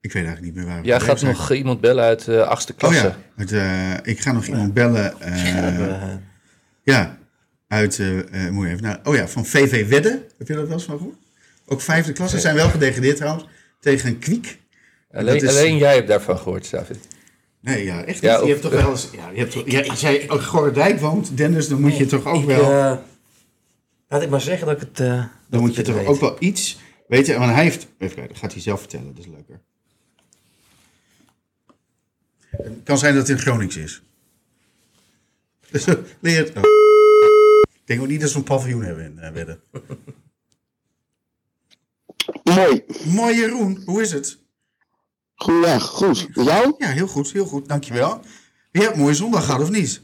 A: ik weet eigenlijk niet meer waar we
C: Jij
A: gebleven
C: gaat
A: zijn.
C: nog iemand bellen uit de achtste
A: Oh
C: klasse.
A: ja, uit, eh, ik ga nog iemand bellen. eh,
B: Eh,
A: ja, uit, eh, eh, moet je even naar, oh ja, van VV Wedden. Heb je dat wel eens van gehoord? Ook vijfde klasse, zijn wel gedegradeerd trouwens. Tegen een kwiek.
C: Alleen,
A: Dat is-
C: alleen jij hebt daarvan gehoord, David.
A: Nee, ja, echt niet.
C: Ja,
A: je
C: of-
A: hebt toch wel eens, ja, je hebt toch, ja, als jij op Gorendijk woont, Dennis, dan moet je toch ook wel,
B: eh, laat ik maar zeggen dat ik het. eh, dat
A: dan moet
B: ik
A: je
B: het
A: toch
B: weet.
A: ook wel iets weten. Want hij heeft, even kijken, dat gaat hij zelf vertellen, dat is leuker. Het kan zijn dat het in Gronings is. [laughs] Dus eh, leer het. oh. Ik denk ook niet dat ze een paviljoen hebben in eh, Wedden.
D: Mooi.
A: Mooi Jeroen, hoe is het?
D: Goedendag. Goed. Jou?
A: Ja, heel goed, heel goed, dankjewel. Je hebt een mooie zondag gehad, of niet?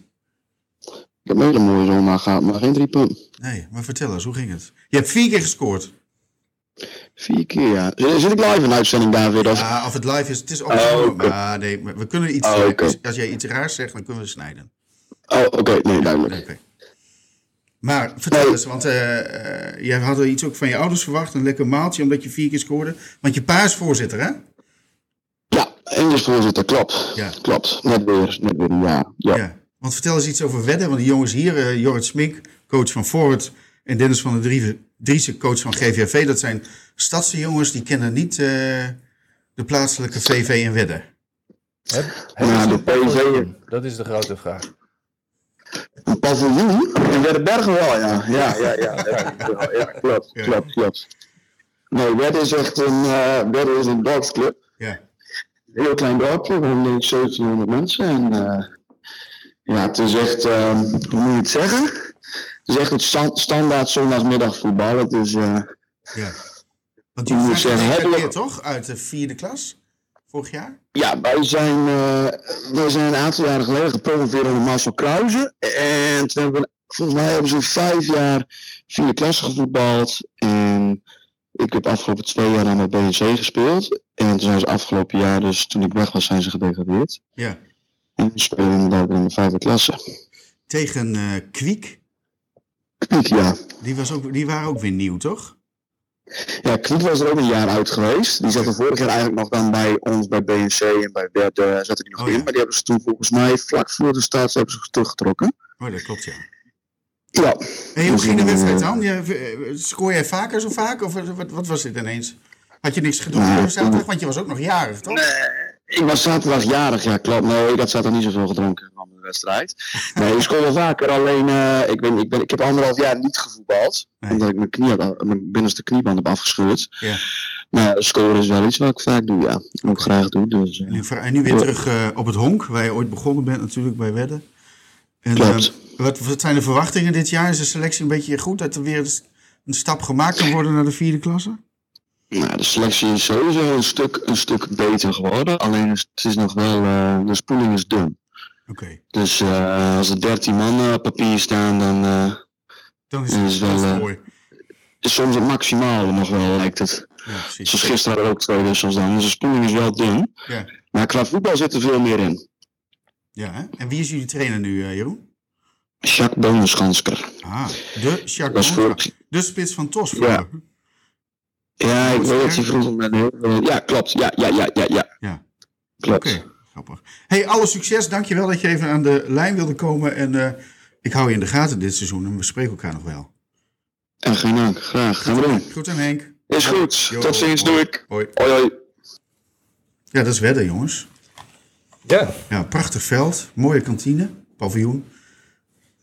D: Ik heb een hele mooie zondag gehad, maar geen drie punten.
A: Nee, maar vertel eens, hoe ging het? Je hebt vier keer gescoord.
D: Vier keer, ja. Zit zit ik live in de uitzending, David? Of...
A: Ja, Ah, of het live is, het is ook
D: Oh,
A: zo.
D: oké.
A: Maar nee, maar we kunnen iets,
D: Oh, oké.
A: als, als jij iets raars zegt, dan kunnen we snijden.
D: Oh, oké. Nee, duidelijk.
A: Oké. Maar vertel
D: Nee.
A: eens, want eh, eh, jij had wel iets ook van je ouders verwacht, een lekker maaltje, omdat je vier keer scoorde. Want je pa is voorzitter, hè?
D: Ja, Engels voorzitter, klopt.
A: Ja.
D: Klopt. Net weer, net weer een jaar. Ja.
A: Ja. Want vertel eens iets over wedden, want die jongens hier, eh Jorrit Smink, coach van Forward, en Dennis van der Drieven- Driessen, coach van GVV, dat zijn stadse jongens, die kennen niet eh, de plaatselijke VV en wedden.
C: Heb,
D: hebben ze de een PSV. paviljoen?
C: Dat is de grote vraag.
D: Een paviljoen? In Werdenbergen wel, ja. Ja, ja,
C: [laughs]
D: ja. ja, ja, ja klopt,
A: Ja.
D: klopt, klopt. Nee, Werden is echt een, eh Werden is een dorpsclub.
A: Ja.
D: Een heel klein dorpje, we hebben denk ik 1700 mensen. En eh, ja, het is echt, ehm, hoe moet je het zeggen? Het is echt het stan- standaard zondagsmiddagvoetbal. Het is, eh,
A: ja. Want
D: Je
A: jullie
D: moet
A: zijn
D: zeggen,
A: gedeputeerd,
D: hebben we-
A: toch? Uit de vierde klas? Vorig jaar?
D: Ja, wij zijn, eh, wij zijn een aantal jaren geleden gepromoveerd onder Marcel Krause. En toen hebben we, volgens mij hebben ze vijf jaar vierde klasse gevoetbald. En ik heb afgelopen twee jaar aan met BNC gespeeld. En toen zijn ze afgelopen jaar, dus toen ik weg was, zijn ze gedegradeerd.
A: Ja.
D: En ze spelen inderdaad in de vijfde klasse.
A: Tegen eh Kwiek.
D: Kwiek, ja.
A: Die, was ook, die waren ook weer nieuw, toch?
D: Ja, Kwiek was er ook een jaar uit geweest. Die zat er vorig jaar eigenlijk nog dan bij ons, bij BNC en bij Werder eh, zat ik nog
A: Oh,
D: in.
A: ja.
D: Maar die hebben ze toen volgens mij vlak voor de start hebben ze teruggetrokken.
A: Oh, dat klopt, ja.
D: Ja,
A: En hoe ging de
D: Eh,
A: wedstrijd dan? Je, scoor jij vaker zo vaak? Of eh, wat, wat was dit ineens? Had je niks gedaan
D: Nee,
A: op zaterdag?
D: Nou, toen-
A: Want je was ook nog jarig, toch?
D: Ik was zaterdag jarig, ja klopt. Nee, ik had zaterdag niet zoveel gedronken van de wedstrijd. Nee, ik school wel vaker, alleen eh, ik, ben, ik, ben, ik heb anderhalf jaar niet gevoetbald.
A: Nee.
D: Omdat ik mijn, knie had, mijn binnenste knieband heb afgescheurd.
A: Ja.
D: Maar scoren is wel iets wat ik vaak doe, ja. Wat ik graag doe, dus eh,
A: En nu, vra- en nu weer terug eh, op het honk, waar je ooit begonnen bent natuurlijk bij Wedden. En,
D: Klopt.
A: eh, wat, wat zijn de verwachtingen dit jaar? Is de selectie een beetje goed? Dat er weer eens een stap gemaakt kan worden naar de vierde klasse?
D: nou, de selectie is sowieso een stuk, een stuk beter geworden. Alleen is- het is nog wel, eh, de spoeling is dun.
A: Oké,
D: Dus eh, als er dertien man eh, op papier staan, dan eh,
A: dan is
D: Ja,
A: het
D: is wel,
A: dat is
D: eh,
A: mooi.
D: is soms het maximale nog wel, lijkt het.
A: Ja, precies.
D: Zoals gisteren hadden we ook twee wissels dan. Dus de spoeling is wel dun.
A: Ja.
D: Maar qua voetbal zit er veel meer in.
A: Ja, hè? En wie is jullie trainer nu, eh, Jeroen?
D: Jacques Bonenschansker.
A: Ah, de
D: Was
A: Jacques Bontra.
D: vorig...
A: De spits van Tos.
D: Ja.
A: vroeger.
D: Ja, ik weet dat hij vroeger met een heel veel- Ja, klopt. Ja, ja, ja, ja. ja.
A: Ja.
D: Klopt.
A: Oké, grappig. Hey, alle succes. Dankjewel dat je even aan de lijn wilde komen. En eh, ik hou je in de gaten dit seizoen en we spreken elkaar nog wel.
D: En geen dank. Graag. Gaan we doen.
A: Goed aan Henk.
D: Is goed.
A: Jo,
D: Tot ziens. Doe
A: hoi.
D: ik.
A: Hoi.
D: Hoi, hoi.
A: Ja, dat is wedden, jongens.
C: Ja,
A: Ja, prachtig veld, mooie kantine, paviljoen.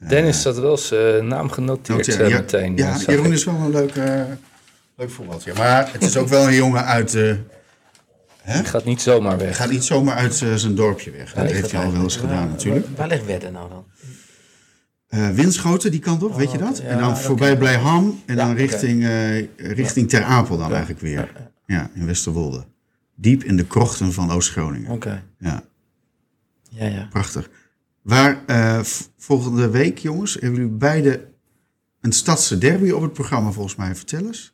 C: Dennis had wel zijn naam genoteerd eh,
A: ja,
C: meteen. eh,
A: ja,
C: zag
A: Jeroen
C: ik.
A: is wel een leuk, eh leuk voetbaltje. Maar het is ook wel een jongen uit... eh,
C: Die gaat niet zomaar weg.
A: gaat niet zomaar uit eh, zijn dorpje weg. Dat heeft hij al wel eens gedaan, natuurlijk.
B: Waar ligt Wedden nou dan?
A: Eh Winschoten, die kant op, weet je dat?
B: oké,
A: en
B: ja,
A: dan
B: dat
A: voorbij
B: ken
A: Blijham en dan
B: oké.
A: richting, eh, richting Ter Apel dan eigenlijk weer. Ja, in Westerwolde. Diep in de krochten van Oost-Groningen.
B: Oké.
A: Ja,
B: Ja, ja.
A: prachtig. Waar eh, v- volgende week, jongens, hebben jullie beide een stadse derby op het programma, volgens mij. Vertel eens.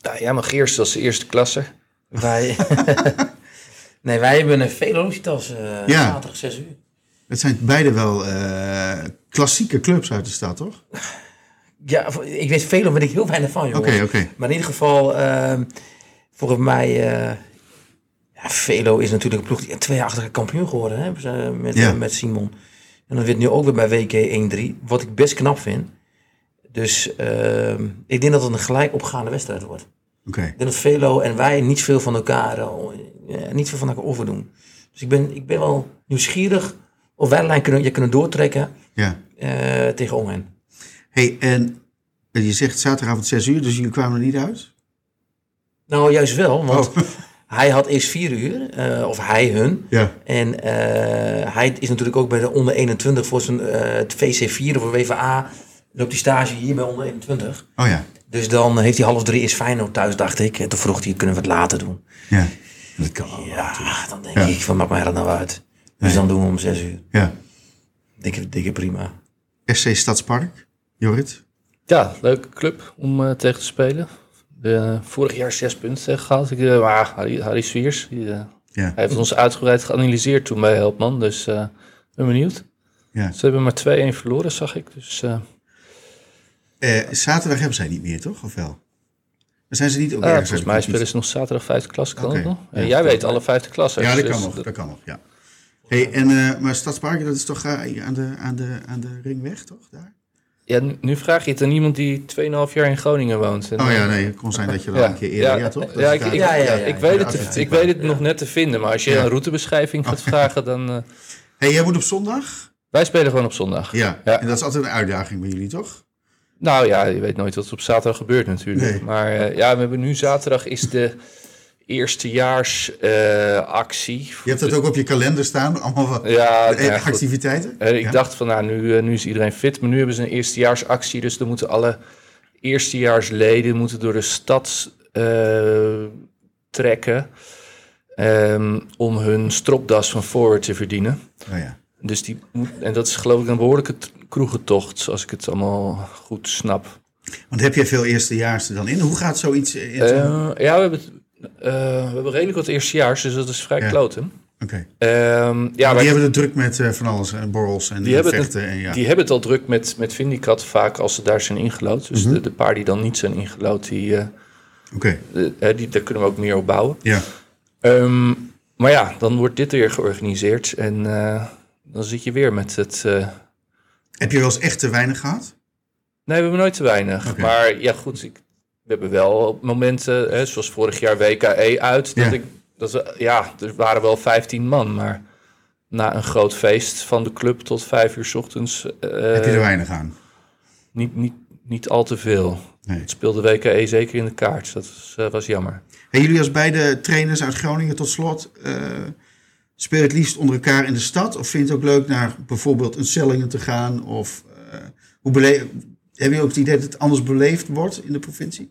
C: Nou, jij mag eerst als eerste klasse.
B: Wij... [laughs] nee, wij hebben een Velocitas eh
A: Ja.
B: zaterdag 6 uur.
A: Het zijn beide wel eh, klassieke clubs uit de stad, toch?
B: Ja, voor- ik weet Velo weet ik heel weinig van,
A: Oké,
B: jongens.
A: oké.
B: Maar in ieder geval, ehm, volgens mij... eh, ja, Velo is natuurlijk een ploeg die twee jaar achter elkaar kampioen geworden hè, met, eh, met,
A: Ja.
B: eh, met Simon. En dat werd nu ook weer bij WK 1-3, wat ik best knap vind. Dus ehm, ik denk dat het een gelijk opgaande wedstrijd wordt.
A: Oké.
B: Ik denk dat Velo en wij niet veel van elkaar, eh, eh, niet veel van elkaar overdoen. Dus ik ben, ik ben wel nieuwsgierig of wij de lijn kunnen, je kunnen doortrekken
A: Ja.
B: eh, tegen Ommen.
A: hey, en je zegt zaterdagavond 6 uur, dus jullie kwamen er niet uit?
B: Nou, juist wel, want
A: Oh,
B: [laughs] hij had eerst vier uur, eh, of hij hun.
A: ja.
B: En eh, hij is natuurlijk ook bij de onder 21 voor zijn eh, het VC4 of WVA. Loopt die stage hier bij onder 21.
A: Oh ja.
B: Dus dan heeft hij half drie is Feyenoord thuis, dacht ik. En toen vroeg hij, kunnen we het later doen?
A: Ja. Dat kan wel.
B: Ja, dan denk
A: Ja.
B: ik, van maakt mij dat nou uit? Dus dan doen we om zes uur.
A: Ja.
B: Dikke, dikke prima.
A: SC Stadspark, Jorrit.
C: Ja, leuke club om eh, tegen te spelen. De, eh, vorig jaar zes punten tegen gehaald. Ik, eh, maar Harry, Harry Swiers, die, eh,
A: Ja.
C: hij heeft ons uitgebreid geanalyseerd toen bij Helpman. Dus eh ben benieuwd.
A: Ja.
C: Ze hebben maar 2-1 verloren, zag ik. Dus eh,
A: Eh, zaterdag hebben zij niet meer, toch? Of wel? Dan zijn ze niet ook
C: ah,
A: ergens
C: volgens
A: uit de
C: mij
A: competitie.
C: spelen ze nog zaterdag vijfde klas. Kan
A: Oké.
C: dat nog? En
A: Ja,
C: jij
A: dat
C: weet alle vijfde klassen.
A: Ja, dat
C: dus
A: kan nog.
C: dat-
A: Dat kan nog, ja. Hey, en, eh, maar Stadspark, dat is toch eh, hier aan, de, aan, de, aan de ringweg, toch? Daar?
C: ja, nu- nu vraag je het aan iemand die 2,5 jaar in Groningen woont. En,
A: Oh ja,
C: eh,
A: nee, het kon zijn dat je dat een keer eerder... Ja, toch? Dat
C: Ja,
A: is
C: ik,
A: daar-
C: ik,
B: Ja, ja, ja,
C: ik
B: ja.
C: weet
A: Ja,
C: het,
A: oké.
C: ik weet het nog net te vinden, maar als je
A: Ja. [laughs]
C: een routebeschrijving gaat vragen, dan... eh,
A: Hey, jij moet op zondag
C: Wij spelen gewoon op zondag.
A: Ja.
C: Ja.
A: en dat is altijd een uitdaging bij jullie, toch?
C: Nou ja, je weet nooit wat er op zaterdag gebeurt natuurlijk.
A: Nee.
C: Maar eh, ja, we hebben nu zaterdag is de eh, eerstejaarsactie.
A: Je hebt dat ook op je kalender staan, allemaal wat
C: Ja, nou ja,
A: eh,
C: goed.
A: activiteiten.
C: Eh, ik
A: Ja.
C: dacht van, nou, nu, eh, nu is iedereen fit. Maar nu hebben ze een eerstejaarsactie. Dus dan moeten alle eerstejaarsleden moeten door de stad eh, trekken... ehm, om hun stropdas van forward te verdienen.
A: Oh, ja.
C: Dus die, en dat is geloof ik een behoorlijke t- kroegentocht... als ik het allemaal goed snap.
A: Want heb jij veel eerstejaars er dan in? Hoe gaat zoiets in? zo'n- Oké.
C: Eh, ja, we hebben, het- eh, we hebben redelijk wat eerstejaars, dus dat is vrij
A: Ja.
C: kloten. Ehm, ja,
A: Maar
C: maar
A: die hebben het druk met eh, van alles en borrels en
C: die hebben, het,
A: vechten. en, ja.
C: die hebben het al druk met, met Vindicat vaak als ze daar zijn ingelood. Dus
A: Mhm.
C: de, de paar die dan niet zijn ingelood, die, eh,
A: Oké,
C: de- hè, die, daar kunnen we ook meer op bouwen.
A: ja.
C: Ehm, maar ja, dan wordt dit weer georganiseerd en eh, dan zit je weer met het... eh,
A: Heb je wel eens echt te weinig gehad?
C: Nee, we hebben nooit te weinig.
A: Oké.
C: Maar ja, goed, ik, we hebben wel op momenten, hè, zoals vorig jaar WKE uit, dat
A: Ja.
C: ik, dat we, ja, er waren wel 15 man, maar na een groot feest van de club tot vijf uur 's ochtends, eh,
A: heb je er weinig aan?
C: niet, niet, niet al te veel.
A: Nee.
C: Het speelde WKE zeker in de kaart, dat was, eh, was jammer.
A: Hey, jullie als beide trainers uit Groningen tot slot, eh speel je het liefst onder elkaar in de stad? Of vind je het ook leuk naar bijvoorbeeld een Sellingen te gaan? Of eh, hoe bele- heb je ook het idee dat het anders beleefd wordt in de provincie?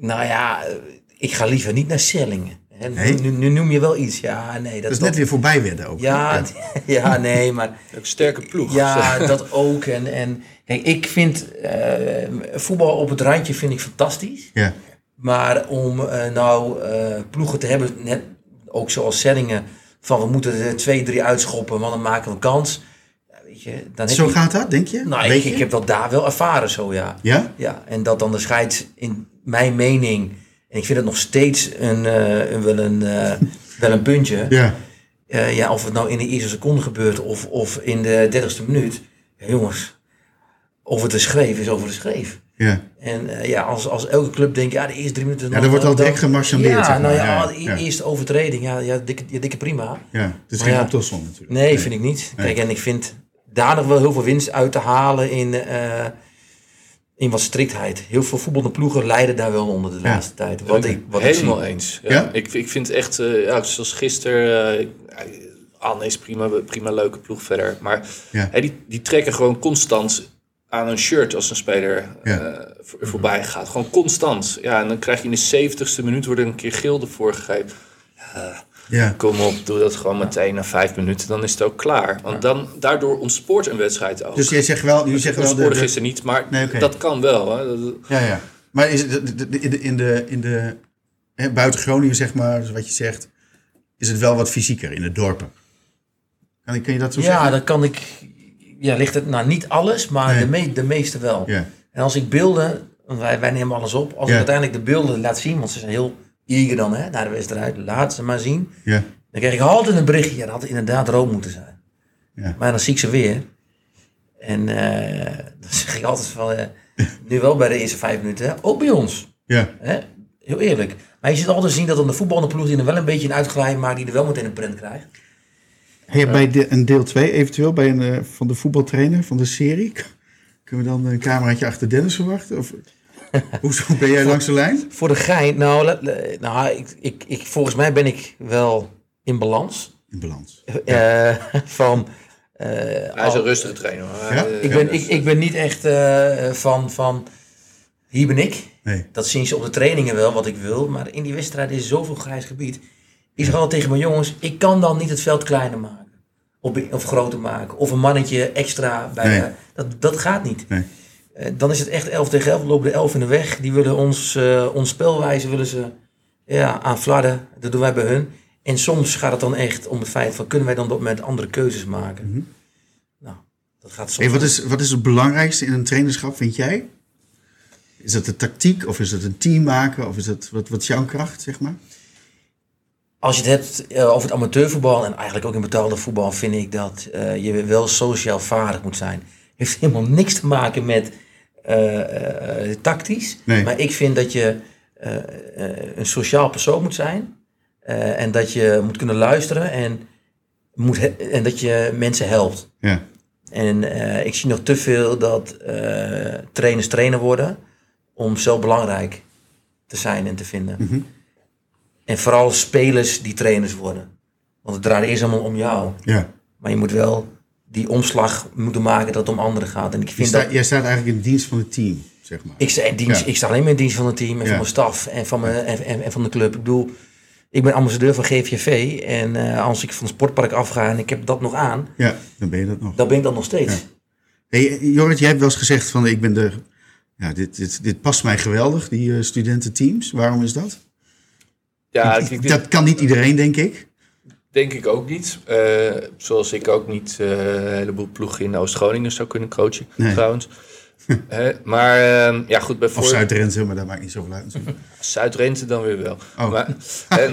B: Nou ja, eh, ik ga liever niet naar Sellingen. Hè, nu-
A: Nee?
B: Nu, nu noem je wel iets. Ja, nee.
A: Dat is net weer voorbij werden ook.
B: Ja,
A: Ja.
B: d- [laughs] ja,
A: [laughs]
B: nee, maar...
C: Een sterke ploeg.
B: Ja, dat ook. En, en kijk, ik vind eh, voetbal op het randje vind ik fantastisch.
A: Ja.
B: Maar om eh, nou eh, ploegen te hebben, net ook zoals Sellingen, van we moeten er twee, drie uitschoppen, want dan maken we kans. Ja, weet je, dan heb
A: Zo
B: je-
A: gaat dat, denk je?
B: Nou,
A: Weet
B: ik,
A: je?
B: ik heb dat daar wel ervaren zo, ja.
A: Ja?
B: Ja, en dat dan de scheids in mijn mening, en ik vind het nog steeds een, eh, een- wel, een, eh, wel een puntje.
A: Ja.
B: Eh, ja, of het nou in de eerste seconde gebeurt of, of in de dertigste minuut. Ja, jongens, over de schreef is over de schreef.
A: Ja.
B: En eh, ja, als, als elke club denkt, ja, de eerste drie minuten...
A: Ja, dan wordt al direct gemarchandeerd,
B: Ja,
A: zeg maar.
B: nou ja,
A: Ja,
B: al die
A: ja.
B: eerste overtreding, ja, ja, dikke, ja, dikke prima.
A: ja. Het is
B: Maar
A: geen
B: ja.
A: optelsom natuurlijk.
B: Nee, vind ik niet. Kijk, en ik vind daar nog wel heel veel winst uit te halen in, eh, in wat striktheid. Heel veel voetballende ploegen lijden daar wel onder de
A: Ja.
B: laatste tijd. Wat ik, wat ik
C: Helemaal
B: zie.
C: eens. Ja.
A: Ja?
C: Ik, ik vind echt, eh, ja, zoals gisteren, eh Anne is prima, prima leuke ploeg verder. Maar
A: Ja.
C: hè, die, die trekken gewoon constant aan een shirt als een speler
A: Ja.
C: eh, voor- voorbij gaat. Gewoon constant. Ja, en dan krijg je in de zeventigste minuut wordt er een keer gilde voorgegeven.
A: Ja.
C: Kom op, doe dat gewoon meteen na vijf minuten, dan is het ook klaar. Want dan, daardoor ontspoort een wedstrijd ook.
A: Dus jij zegt wel, jullie zeggen wel... de-
C: ontspoorde
A: de-
C: gisteren niet, maar
A: Nee, oké.
C: dat kan wel. Hè. Dat-
A: Ja, ja. Maar is het de- de- de- in de, in de, in de hè, buiten Groningen, zeg maar, dus wat je zegt, is het wel wat fysieker in de dorpen? Kan, ik- kun je dat zo
B: Ja,
A: zeggen?
B: dan kan ik... Ja, ligt het nou niet alles, maar
A: Nee.
B: de, me- de meeste wel.
A: Ja,
B: En als ik beelden, want wij, wij nemen alles op, als
A: Ja.
B: ik uiteindelijk de beelden laat zien, want ze zijn heel eager dan hè, naar de wedstrijd, laat ze maar zien.
A: ja,
B: Dan krijg ik altijd een berichtje, ja, dat had inderdaad rood moeten zijn.
A: Ja.
B: Maar dan zie ik ze weer. En eh, dan zeg ik altijd van, eh, nu wel bij de eerste vijf minuten, hè, ook bij ons.
A: ja.
B: Hè? Heel eerlijk. Maar je ziet altijd zien dat dan de voetballende ploeg die er wel een beetje in uitglijdt, maar die er wel meteen een print krijgt.
A: Hey, bij de, een deel 2 eventueel, bij een, eh, van de voetbaltrainer van de serie, [laughs] k- kunnen we dan een cameraatje achter Dennis verwachten?
B: [laughs]
A: Of, hoezo ben jij langs de lijn?
B: Voor de gein, nou, la- la- nou ik, ik, ik, volgens mij ben ik wel in balans.
A: In balans.
B: Eh, [laughs] van. eh,
C: Hij is
B: al-
C: een rustige trainer. hoor.
A: Ja?
C: Hij, eh,
B: ik, ben, ik, ik ben niet echt eh, van, van. Hier ben ik.
A: Nee.
B: Dat zien ze op de trainingen wel wat ik wil. Maar in die wedstrijd is zoveel grijs gebied. Ik zeg altijd tegen mijn jongens: ik kan dan niet het veld kleiner maken. Of, of groter maken. Of een mannetje extra bij.
A: Nee.
B: de- dat, dat gaat niet.
A: Nee.
B: Eh, dan is het echt 11 tegen 11. We lopen de 11 in de weg. Die willen ons, eh ons spelwijze willen ze, ja, aanvladden. Dat doen wij bij hun. En soms gaat het dan echt om het feit van kunnen wij dan op dat moment andere keuzes maken.
A: Mhm.
B: Nou, dat gaat soms.
A: Hey, wat, is, wat is het belangrijkste in een trainerschap, vind jij? Is dat de tactiek, of is dat een team maken, of is dat, wat, wat is jouw kracht, zeg maar?
B: Als je het hebt eh, over het amateurvoetbal en eigenlijk ook in betaalde voetbal, vind ik dat eh, je wel sociaal vaardig moet zijn. Heeft helemaal niks te maken met eh, eh, tactisch.
A: Nee.
B: Maar ik vind dat je eh, eh, een sociaal persoon moet zijn. eh, en dat je moet kunnen luisteren en, moet he- en dat je mensen helpt.
A: Ja,
B: En eh, ik zie nog te veel dat eh, trainers trainer worden om zo belangrijk te zijn en te vinden.
A: Mhm.
B: En vooral spelers die trainers worden. Want het draait eerst allemaal om jou.
A: Ja.
B: Maar je moet wel die omslag moeten maken dat het om anderen gaat. En ik
A: Je
B: vind dat
A: staat, jij staat eigenlijk in dienst van het team, zeg maar.
B: ik sta, in dienst,
A: Ja.
B: ik sta alleen maar in dienst van het team en
A: Ja.
B: van mijn staf en van, mijn, en, en, en van de club. Ik bedoel, ik ben ambassadeur van GVV en eh, als ik van het sportpark afga en ik heb dat nog aan,
A: Ja, dan ben je dat nog.
B: dan ben ik dat nog steeds.
A: Hey, Jorrit, jij hebt wel eens gezegd van ik ben de... Ja, dit, dit, dit past mij geweldig, die eh, studententeams. Waarom is dat?
C: Ja,
A: Ik-
C: ik- ik-
A: dat kan niet iedereen, denk ik.
C: Denk ik ook niet. Eh, zoals ik ook niet eh, een heleboel ploegen in Oost-Groningen zou kunnen coachen,
A: Nee. [laughs]
C: trouwens. Hè, maar ehm, ja, goed, bij
A: Of
C: voor-
A: Zuid-Drenthe, maar dat maakt niet zoveel uit. natuurlijk.
C: Zuid-Rente dan weer wel.
A: Oh. [laughs]
C: Maar, en,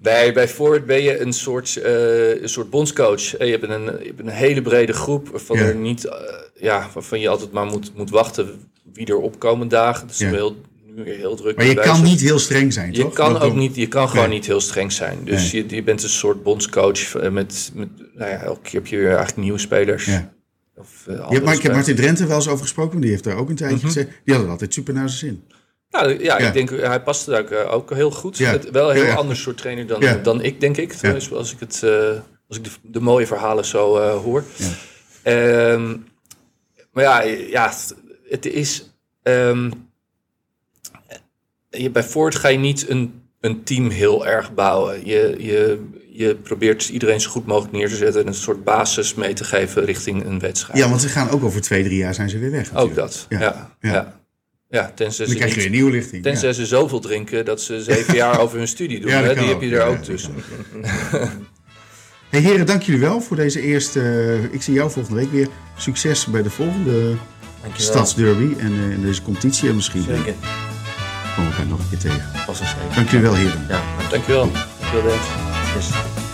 C: bij, bij Ford ben je een soort, eh, een soort bondscoach. Eh, Je hebt, een, je hebt een hele brede groep waarvan,
A: Ja.
C: er niet, eh, ja, waarvan je altijd maar moet, moet wachten wie er opkomen dagen. Dus
A: Ja.
C: we heel, nu weer heel druk.
A: Maar je
C: bij
A: kan
C: zijn.
A: niet heel streng zijn,
C: Je
A: toch?
C: kan
A: Dat
C: ook
A: doen-
C: niet, je kan gewoon
A: Nee.
C: niet heel streng zijn. Dus je, je bent een soort bondscoach eh, met, met nou ja, elke keer heb je weer eigenlijk nieuwe spelers.
A: Ja.
C: Of, eh,
A: Je hebt, maar ik heb
C: andere
A: Martin Drenthe wel eens over gesproken, want die heeft daar ook een tijdje gezegd. Die hadden het altijd super naar zijn zin.
C: spelers. Nou, ja,
A: Ja.
C: ik denk, hij past daar ook, eh, ook heel goed.
A: Ja.
C: Het- wel een heel
A: Ja, ja.
C: ander soort trainer dan,
A: Ja.
C: dan ik, denk ik. Trouwens, als ik, het, eh, als ik de, de mooie verhalen zo eh, hoor. Ehm, maar ja, ja, het is... ehm, je, bij Ford ga je niet een, een team heel erg bouwen. Je, je, je probeert dus iedereen zo goed mogelijk neer te zetten en een soort basis mee te geven richting een wedstrijd.
A: Ja, want ze gaan ook over twee, drie jaar zijn ze weer weg.
C: Ook
A: natuurlijk.
C: dat.
A: Ja,
C: Ja, ja.
A: ja.
C: ja. tenzij
A: Dan krijg
C: ze,
A: je
C: niet-
A: weer een nieuwe lichting.
C: tenzij ze zoveel drinken dat ze zeven jaar over hun studie doen.
A: Ja, dat
C: hè?
A: kan
C: Die
A: ook.
C: heb je
A: Ja,
C: er
A: dat
C: ook tussen.
A: [laughs] Hey heren, dank jullie wel voor deze eerste. eh, ik zie jou volgende week weer. Succes bij de volgende
B: Dankjewel.
A: stadsderby en eh, in deze competitie. En misschien eh,
B: Zeker.
A: komen we elkaar nog een keer tegen.
B: Was een zeker.
A: Dank jullie wel, heren.
B: Ja,
C: Dankjewel. Dankjewel, Dave.
B: dus.